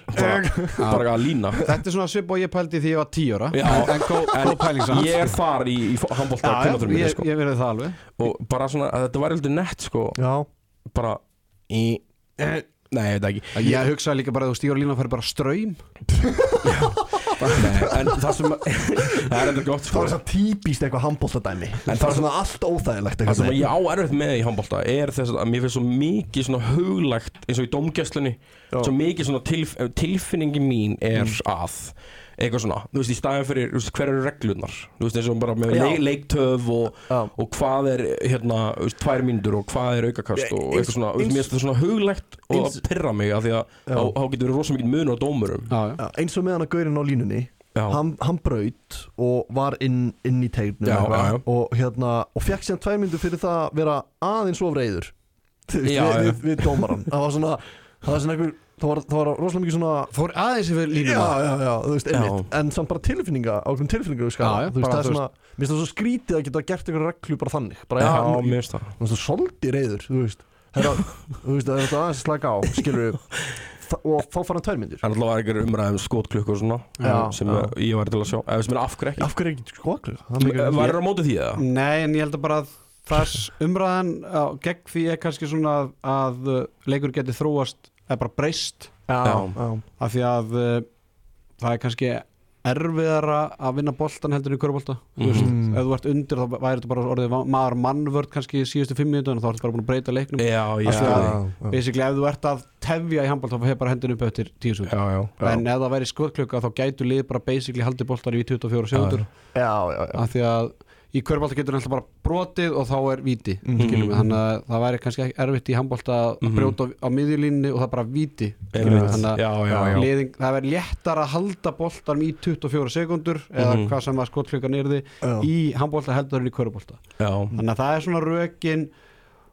Speaker 3: bara, bara, bara að lína
Speaker 1: þetta er svona svip og ég pældi því ég var 10 ára
Speaker 3: Já.
Speaker 1: en góð gó pæling
Speaker 3: en
Speaker 1: samt
Speaker 3: ég er þar í, í handbólta
Speaker 1: Já, já,
Speaker 3: kynnaþurum
Speaker 1: ég,
Speaker 3: sko.
Speaker 1: ég verði það alveg
Speaker 3: og bara svona, að þetta var eitthvað nett sko,
Speaker 2: Já,
Speaker 3: bara í,
Speaker 1: Eh.
Speaker 3: nei, ég veit það ekki
Speaker 1: Ég hugsaði líka bara að þú stígur lína og færi bara ströym
Speaker 3: Nei, en það sem það er enda gott
Speaker 2: það
Speaker 3: sko
Speaker 2: var svona típist eitthvað handbóltadæmi En það var svona allt óþægilegt
Speaker 3: það sem
Speaker 2: eitthvað
Speaker 3: ég á erfitt með í handbólta er þess að mér finnst svo mikið svona huglægt eins og í domgæslunni svo mikið svona tilf, eh, tilfinningi mín
Speaker 2: Mm.
Speaker 3: er að eitthvað svona, þú veist, í staðin fyrir þú veist, hver eru reglunar, þú veist, eins og bara með
Speaker 2: Já.
Speaker 3: leik, leiktöf og,
Speaker 2: Já.
Speaker 3: og hvað er hérna, þú veist, tvær mínútur og hvað er aukakast
Speaker 2: Ég-
Speaker 3: og
Speaker 2: eins-
Speaker 3: eitthvað svona, þú veist,
Speaker 2: eins-
Speaker 3: mér finnst það svona huglægt og
Speaker 2: eins-
Speaker 3: það pyrra mig af því að
Speaker 2: Já.
Speaker 3: þá þá getur verið rosa mikið munur á dómurum
Speaker 1: Já, já.
Speaker 2: Já, eins og með hann að gaurinn á línunni
Speaker 3: Já.
Speaker 2: hann, hann braut og var inn, inn í tegnum
Speaker 3: Já, já, já.
Speaker 2: og hérna og fekk síðan tvær myndu fyrir það að vera aðeins of reyður við,
Speaker 3: Já, já.
Speaker 2: við, við dómaran það var svona það var svona einhver það var, það var rosalega mikið svona
Speaker 1: Fór aðeins yfir
Speaker 2: Já,
Speaker 1: lína
Speaker 2: já, já, þú veist, einmitt
Speaker 3: Já.
Speaker 2: En samt bara tilfinninga, ákveðum tilfinninga
Speaker 1: Já, já,
Speaker 2: Þú veist,
Speaker 1: bara
Speaker 2: það er
Speaker 1: þú
Speaker 2: svona Mér finnst það svo skrítið að geta gert einhverja reglu bara þannig Bara,
Speaker 3: Já,
Speaker 2: já,
Speaker 3: mér finnst það
Speaker 2: þú veist, svolítið reyður Þú veist, herra, þú veist, það er þetta aðeins að slaka á Skilur Og þá fara hann tvær myndir
Speaker 3: Það er alltaf var einhver umræðum skotklukk og svona
Speaker 2: Já,
Speaker 3: sem
Speaker 2: já.
Speaker 3: ég var til að sjá, eða sem er af hverju ekki
Speaker 2: Af hverju er ekki skoklu? Það er mikið-
Speaker 3: Varir á móti því eða?
Speaker 1: Nei, en ég held að bara að þess umræðan á, gegn því er kannski svona að, að uh, leikur geti þróast eða bara breyst
Speaker 2: Já,
Speaker 3: Já.
Speaker 2: já,
Speaker 1: af því að uh, það er kannski erfiðara að vinna boltan heldur en í körbolta mm
Speaker 2: Mhm.
Speaker 1: -hmm. ef þú ert undir þá væri þetta bara orðið va- maður mannvörd kannski í síðustu fimm minútu en þá ertu bara búin að breyta leiknum
Speaker 3: Já, já,
Speaker 1: Af því að-
Speaker 3: já,
Speaker 1: basically ef þú ert að tefja í handbolt þá hefur bara hendin upp eftir tíu sekúndur
Speaker 3: já, já.
Speaker 1: en ef það væri skotklukka þá gætu lið bara basically haldið boltan í 24 sekundur
Speaker 2: já, já, já.
Speaker 1: af því að í körbolta getur alltaf bara brotið og þá er víti
Speaker 2: Mhm.
Speaker 1: skilum við, þannig að það væri kannski ekki erfitt í handbolta að
Speaker 3: Mhm.
Speaker 1: brjóta á- á miðjulínni og það er bara víti skilum við,
Speaker 3: Einmitt.
Speaker 1: þannig að
Speaker 3: já, já, já.
Speaker 1: Liðing, það verður léttar að halda boltanum í 24 sekundur eða
Speaker 3: Mhm.
Speaker 1: hvað sem að skotklukkan yrði
Speaker 2: Já.
Speaker 1: í handbolta heldur en í körubólta
Speaker 3: já.
Speaker 1: þannig að það er svona rökin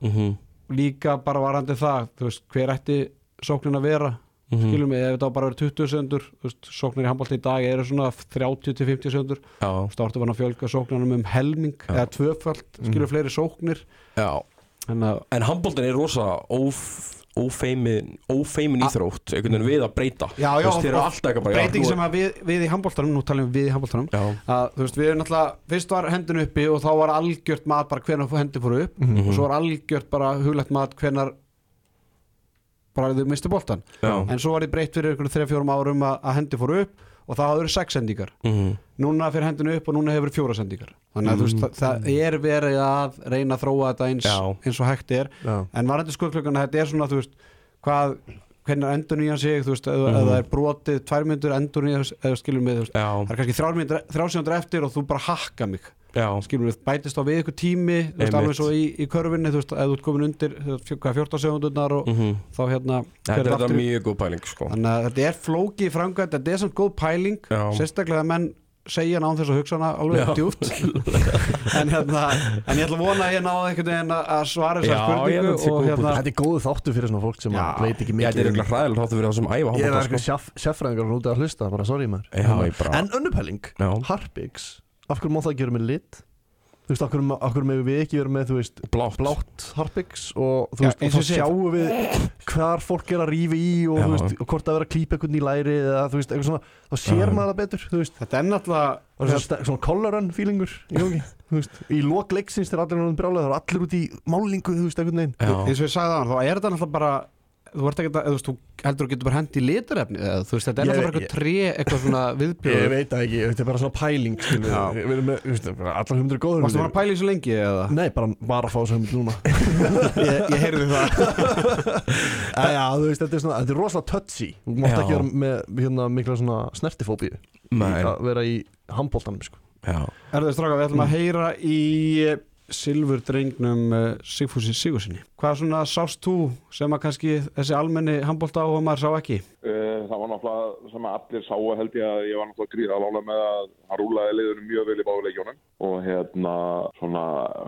Speaker 3: mhm,
Speaker 1: líka bara varandi það þú veist, hver ætti sóknin að vera
Speaker 3: Mhm.
Speaker 1: skilum við, ef þetta á bara verið 20 sekundur þú veist, sóknir í handbolta í dag eru svona 30-50 sekundur,
Speaker 3: já,
Speaker 1: þá ertu bara að fjölga sóknunum um helming eða
Speaker 3: Mhm.
Speaker 1: tvöfald skilum við fleiri sóknir
Speaker 3: já.
Speaker 1: þannig að
Speaker 3: En handbóltin er rosa óf, ófeimin, ófeimin íþrótt einhvern veginn við að breyta
Speaker 1: Já, já,
Speaker 3: Þú veist, þeir eru
Speaker 1: og-
Speaker 3: alltaf eitthvað bara já,
Speaker 1: breyting
Speaker 3: nú-
Speaker 1: sem að við, við í handbóltanum, nú talum við í handbóltanum
Speaker 3: Já,
Speaker 1: að þú veist, við erum náttúrulega, fyrst var hendin uppi og þá var algjört mat bara hvenar hendi fóru upp
Speaker 3: Mhm.
Speaker 1: og svo var algjört bara huglegt mat hvenar bara þau misti boltan
Speaker 3: já,
Speaker 1: en svo var þið breytt fyrir ykkur 3-4 árum að, að hendi fóru upp og það hafði verið 6 sendingar
Speaker 3: mhm,
Speaker 1: núna fyrir hendinu upp og núna hefur fjóra sendingar þannig að þú veist, það, það er verið að reyna að þróa þetta eins,
Speaker 3: Mm. Já.
Speaker 1: eins og hægt er
Speaker 2: Já.
Speaker 1: en varandi skoðklukkana, þetta er svona þú veist, hvað hvernig endur nýja sig þú veist, ef, mm ef það er brotið tvær myndur endur nýja, eða skilur mig þú veist,
Speaker 3: Mhm. Já,
Speaker 1: það er kannski þrjár mínútur- þrjár sekundur eftir og þú bara hakka mig
Speaker 3: já,
Speaker 1: skilur við, bætist á við ykkur tími þú veist,
Speaker 3: Einmitt.
Speaker 1: alveg svo í, í körfinni, þú veist, ef þú ert komin undir þú veist, hvað, 14 sekundunar og
Speaker 3: mhm
Speaker 1: þá hérna
Speaker 3: Þetta
Speaker 1: fer
Speaker 3: er þetta
Speaker 1: aftur í-
Speaker 3: mjög góð pæling sko
Speaker 1: þannig að þetta er flóki framkvæmt þetta er samt góð pæling,
Speaker 3: Já.
Speaker 1: sérstaklega að menn segja hana án þess að hugsa hana alveg
Speaker 3: Já.
Speaker 1: djúpt en hérna en ég ætla að vona að ég náði einhvern veginn að- að svara
Speaker 3: Já,
Speaker 1: þessar
Speaker 3: ég held að þetta sé
Speaker 1: spurningu og
Speaker 3: góð
Speaker 1: hérna
Speaker 2: Þetta er góðu þáttu fyrir svona fólk sem
Speaker 1: Já.
Speaker 2: að veit ekki
Speaker 3: Ég, Þetta
Speaker 2: mikið
Speaker 3: er
Speaker 2: um-
Speaker 3: eitthvað hræðilegt þáttu fyrir þá sem æfa
Speaker 2: Ég er
Speaker 3: handbolta, sko.
Speaker 2: eitthvað sjaf- sérfræðingar úti að hlusta bara sorry maður
Speaker 3: Já, ég bara-
Speaker 2: En önnupæling,
Speaker 3: Já.
Speaker 2: Harpix Af hverju má það gera með lit? Þú veist, af hverju, af hverju megum við ekki vera með, þú veist
Speaker 3: Blátt.
Speaker 2: Blátt Harpix og þú
Speaker 1: Já,
Speaker 2: veist, og
Speaker 1: eins og
Speaker 2: þá
Speaker 1: ég segi.
Speaker 2: sjáum við hvar fólk er að rífi í og,
Speaker 3: Já.
Speaker 2: þú veist, og hvort það er að klípa einhvern í læri eða þú veist, eitthvað svona, þá sér
Speaker 3: Já.
Speaker 2: maður það betur þú veist,
Speaker 1: þetta er
Speaker 2: og svona,
Speaker 1: náttúrulega
Speaker 2: sta- svona color run feelingur í gangi, þú veist, í lok leiksins þegar allir er brjálega, það er allir út í málingu þú veist, einhvern veginn
Speaker 3: Já,
Speaker 1: eins og ég sagði það, þá er þetta náttúrulega bara þú ert ekki að, þú veist, þú heldur að getur bara hendi í litarefni eða þú veist, þetta er
Speaker 2: Ég-
Speaker 1: náttúrulega bara eitthvað tré eitthvað svona
Speaker 2: Ég
Speaker 1: viðbjöður
Speaker 2: veit það ekki, þetta er bara svona pæling skilur við.
Speaker 1: Já.
Speaker 2: Við erum með, þú veist, bara allar hundur er góður
Speaker 1: Varstu bara að pæla í þessu lengi eða?
Speaker 2: Nei, bara var að fá þessu hugmynd núna
Speaker 1: ég, ég heyrði það
Speaker 2: Já, já, þú veist, þetta er, svona, þetta er rosalega touchy Þú mátt
Speaker 3: Já.
Speaker 2: ekki vera með hérna, mikla svona snertifóbíu
Speaker 3: Nei.
Speaker 2: Að vera í handbóltanum sko.
Speaker 3: já
Speaker 1: Erður stráka, við ætlum að heyra í eh, silfur drengnum uh, Sigfúsi Sigursinni. Hvað svona sást þú sem að kannski þessi almenni handbólta áhuga maður sá ekki?
Speaker 6: Eh, Það var náttúrulega sem að allir sáu held ég að ég var náttúrulega gríðalála með að hann rúlaði liðunum mjög vel í báðuleikjónum og hérna svona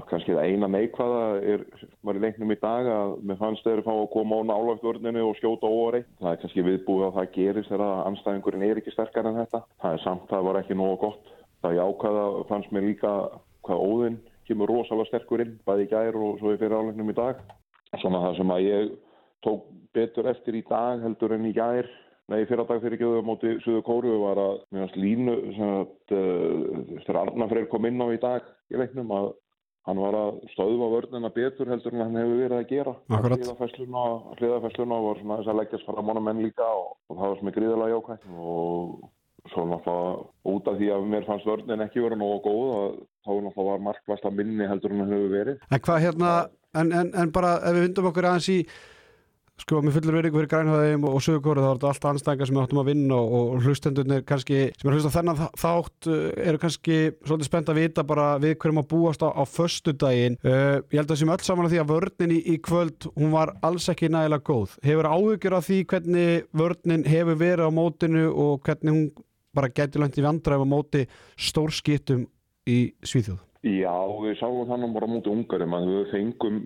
Speaker 6: kannski það eina neikvæða er, var í leiknum í dag að mér fannst þeir fá að koma á nálagt vörninu og skjóta óri. Það er kannski viðbúið að það gerist þegar að anstæðingurinn er ekki sterkar en þetta. Það er samt það var ekki nógu gott. Það jákvæða fannst mér líka hvað óðinn kemur rosalega sterkur inn bæði í gær og svo í fyrir áleiknum í dag. Svona það sem að ég tók betur eftir í dag heldur en í gær Nei, fyrir dag fyrir gjöðu á móti Suðu Kóru var að meðast línu sem að uh, þegar Arnafreyr kom inn á í dag í leiknum að hann var að stöðva vörnina betur heldur en hann hefur verið að gera.
Speaker 1: Akkurat.
Speaker 6: Hliðafæsluna, hliðafæsluna var svona þess að leggjast fara mánu menn líka og, og það var sem er gríðilega jákvæmt og svo náttúrulega út af því að mér fannst vörnin ekki vera nógu góð að þá náttúrulega var markvæst að minni heldur en hann hefur verið.
Speaker 1: En hvað hérna, en, en, en bara ef við vindum okkur aðeins í sko, mér fullur verið fyrir grænhæðum og, og sögurkóru þá er þetta allt anstæðingar sem við áttum að vinna og, og hlustendurnir kannski, sem er að hlusta á þennan þa- þátt uh, eru kannski svolítið spennt að vita bara við hverjum að búast á, á föstudaginn uh, ég held að sem öll saman að því að vörnin í, í kvöld, hún var alls ekki nægilega góð hefur áhugjur af því hvernig vörnin hefur verið á mótinu og hvernig hún bara gæti langt í vandræf á móti stórskiptum í Svíþjóð
Speaker 6: Já, við sáum þannig bara mútið ungarum að við fengum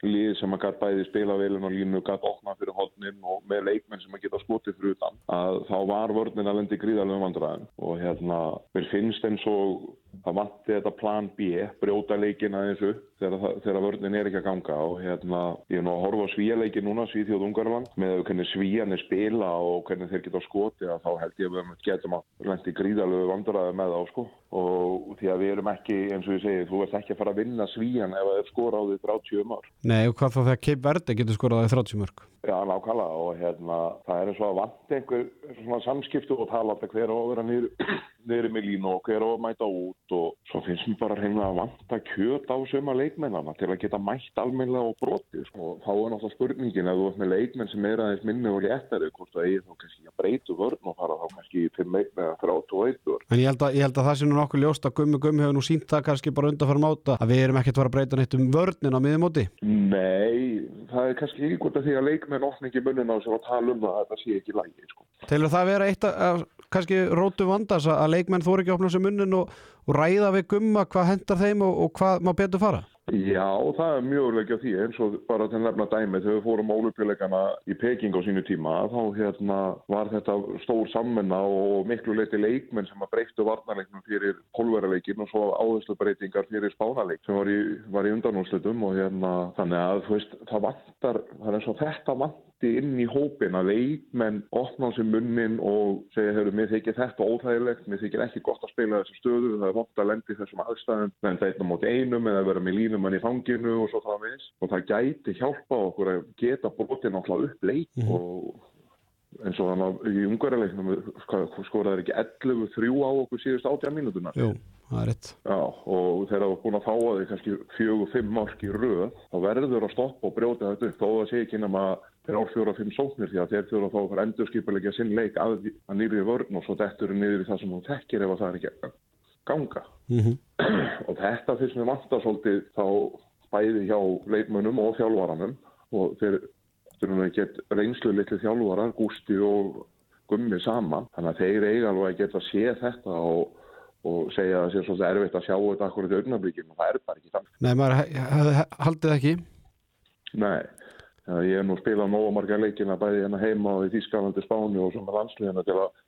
Speaker 6: lið sem að gæt bæði spila velin og línu, gæt opna fyrir hodnin og með leikmenn sem að geta skotið fyrir utan að þá var vörnin að lendi gríðarlega vandræðin og hérna, mér finnst eins og það vanti þetta plan B brjóta leikin aðeins upp þegar, það- þegar vörnin er ekki að ganga og hérna, ég er nú að horfa á svíjaleikin núna, Svíþjóð Ungarland með hvernig svíjanir spila og hvernig þeir geta skotið að þá held ég að við getum að lendi gríðarlega vandræði með þá sko og því að við erum ekki, eins og ég segi, þú ert ekki að fara að vinna svíjan ef það er skora á um því 30 mörg.
Speaker 1: Nei, og hvað þá þegar Keip Verde getur skorað í 30 mörg
Speaker 6: Já, nákvæmlega og hérna, það er eins og að vant einhver svona samskiptu og tala alltaf hver á að vera niður, niður með línu og hver á að mæta út og svo finnst mér bara reyna að vanta kjöt á söma leikmennana til að geta mætt almennilega og brotið sko. og þá er náttúrulega spurningin að þú ert með leikmenn sem er aðeins minni og léttari hvort það eigi þá kannski að breytu vörn og fara þá kannski í 5 eða 31 vörn.
Speaker 1: En ég held, að, ég held að það sé nú nokkuð ljóst að Gummi Gummi hefur nú sínt það kannski bara undanfæra máta að við erum ekkert að fara að breyta neitt um vörnin á miðumóti.
Speaker 6: Nei, það er kannski ekki hvort að því að leikmenn opningi munnin á sér og tala um það að það sé ekki lægi sko.
Speaker 1: Telur það vera eitt að, að kannski rótu vandas að, að leikmenn þóri ekki að opna sér munnin og, og ræða við Gumma hvað hendar þeim og, og hvað má betur fara?
Speaker 6: Já, það er mjög örleikja því eins og bara til að nefna dæmi þegar við fórum ólupjuleikana í Peking á sínu tíma þá hérna var þetta stór sammenna og miklu leiti leikmenn sem að breyttu varnarleiknum fyrir pólverarleikin og svo áherslubreytingar fyrir spánarleik sem var í, var í undanúrslutum og hérna þannig að þú veist það vantar, það er eins og þetta vanti inn í hópin að leikmenn opna á sér munnin og segja hefur mér þykir þetta óþægilegt, mér þykir ekki gott að spila þessu stöðu, það er vant að lendi þessum aðstæðum, lenda einn á móti einum eða vera með línumann í fanginu og svo framvegis og það gæti hjálpa okkur að geta brotið náttúrulega upp leik og eins og þannig að í ungverðarleiknum skoraði ekki 11-3 á okkur síðust 18 mínútuna
Speaker 1: Jú, það er rétt.
Speaker 6: Já, og þegar það var búin að fá að þið kannski fjögur, fimm mark í röð, þá verður að stoppa og brjóta þetta upp, þó það sé ekki nema þrjár, fjóra, fimm sóknir því að þeir þurfa þá að fara endurskipulegja sinn leik að, að nýrið vörn og svo dettur niður í það sem hún þekkir ef að það er ekki að ganga og þetta fyrst mér vantar svolítið þá bæði hjá leikmönnum og þjálfaranum og þeir þurfum að geta reynslu litlu þjálfarar, Gústi og Gummi saman þannig að þeir eiga alveg að geta sé þetta og, og segja að það sé svolítið erfitt að sjá þetta akkurat í augnablikinu og það er bara ekki þannig
Speaker 1: Nei, maður he- hefði he- haldið ekki
Speaker 6: Nei, Já, ég hef nú spilað nógu marga leikina bæði hérna heima og í Þískalandi Spáni og sem er landsliðina til að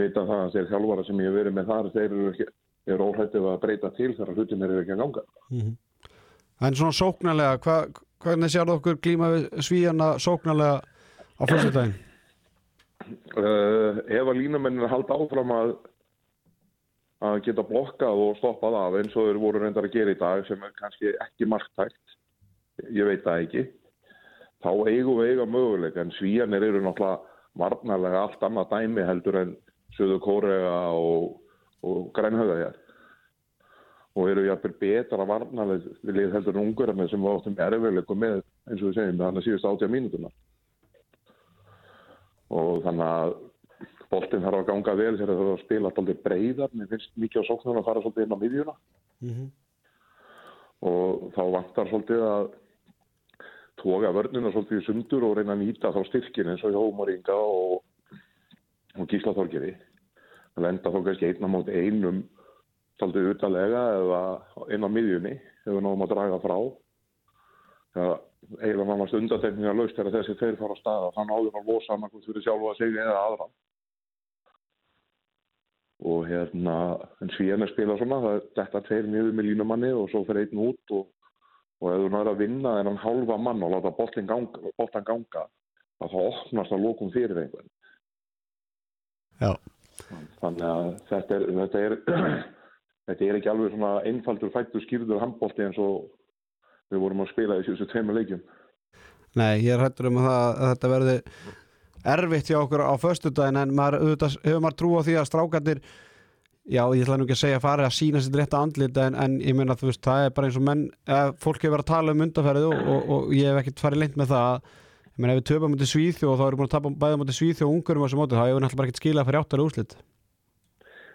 Speaker 6: vita það að þeir þjálfara sem ég hef verið með þar þeir eru, ekki, eru óhættið að breyta til þegar hlutin eru ekki að ganga.
Speaker 1: En svona sóknarlega, hva, hvernig sérðu okkur glíma við svíjana sóknarlega á fyrstudaginn?
Speaker 6: Uh, ef að línamennin halda áfram að, að geta blokkað og stoppað af eins og þeir voru reyndar að gera í dag sem er kannski ekki marktækt, ég veit það ekki, þá eigum við eiga möguleika en svíjanir eru náttúrulega varnarlega allt annað dæmi heldur en Suður Kórea og, og Grænhöða hér og eru jafnvel betra varnarlega heldur en ungurarnir sem við áttum erfiðleikum með eins og við segjum með hann að síðust átja mínútuna og þannig að boltinn þarf að ganga vel þegar það þarf að spila alltaf breyðar, mér finnst mikið á sóknum að fara svolítið inn á miðjuna og þá vantar svolítið að tóka vörnina svolítið í sundur og reyna að nýta þá styrkin eins og hjá Móringa og, og Gísla Þorgeri að lenda þá kannski einna mót einum svolítið utalega eða inn á miðjunni ef við náum að draga frá það eiginlega nánast undatekningar laust þegar þessi þeir fara á staða þá náður að losa hann hvort fyrir sjálfa sig eða aðra og hérna en svíðan er spila svona það, þetta tveir niður með línumanni og svo fyrir einn út og, og ef þú náður að vinna þennan halva mann og láta boltan ganga, boltan ganga að þá opnast að lokum fyrir einhvern
Speaker 1: Já.
Speaker 6: þannig að þetta er þetta er, þetta er ekki alveg svona einfaldur fættur skýrður handbolti eins og við vorum að spila í þessu tveimur leikjum
Speaker 1: Nei, ég er hættur um að, það, að þetta verði erfitt hjá okkur á föstudaginn en maður, auðvitað, hefur maður trú á því að strákarnir já, ég ætla nú ekki að segja farið að sína sitt rétta andlit en, en ég meina þú veist, það er bara eins og menn eða, fólk hefur verið að tala um undanferðið og, og, og ég hef ekkert farið lengt með það að ég meina ef við töpum mútið Svíþjó og þá erum við búin að tapa bæða mútið Svíþjó og ungurum á þessu móti þá hefur við náttúrulega bara ekkert skilað fyrir áttara úrslit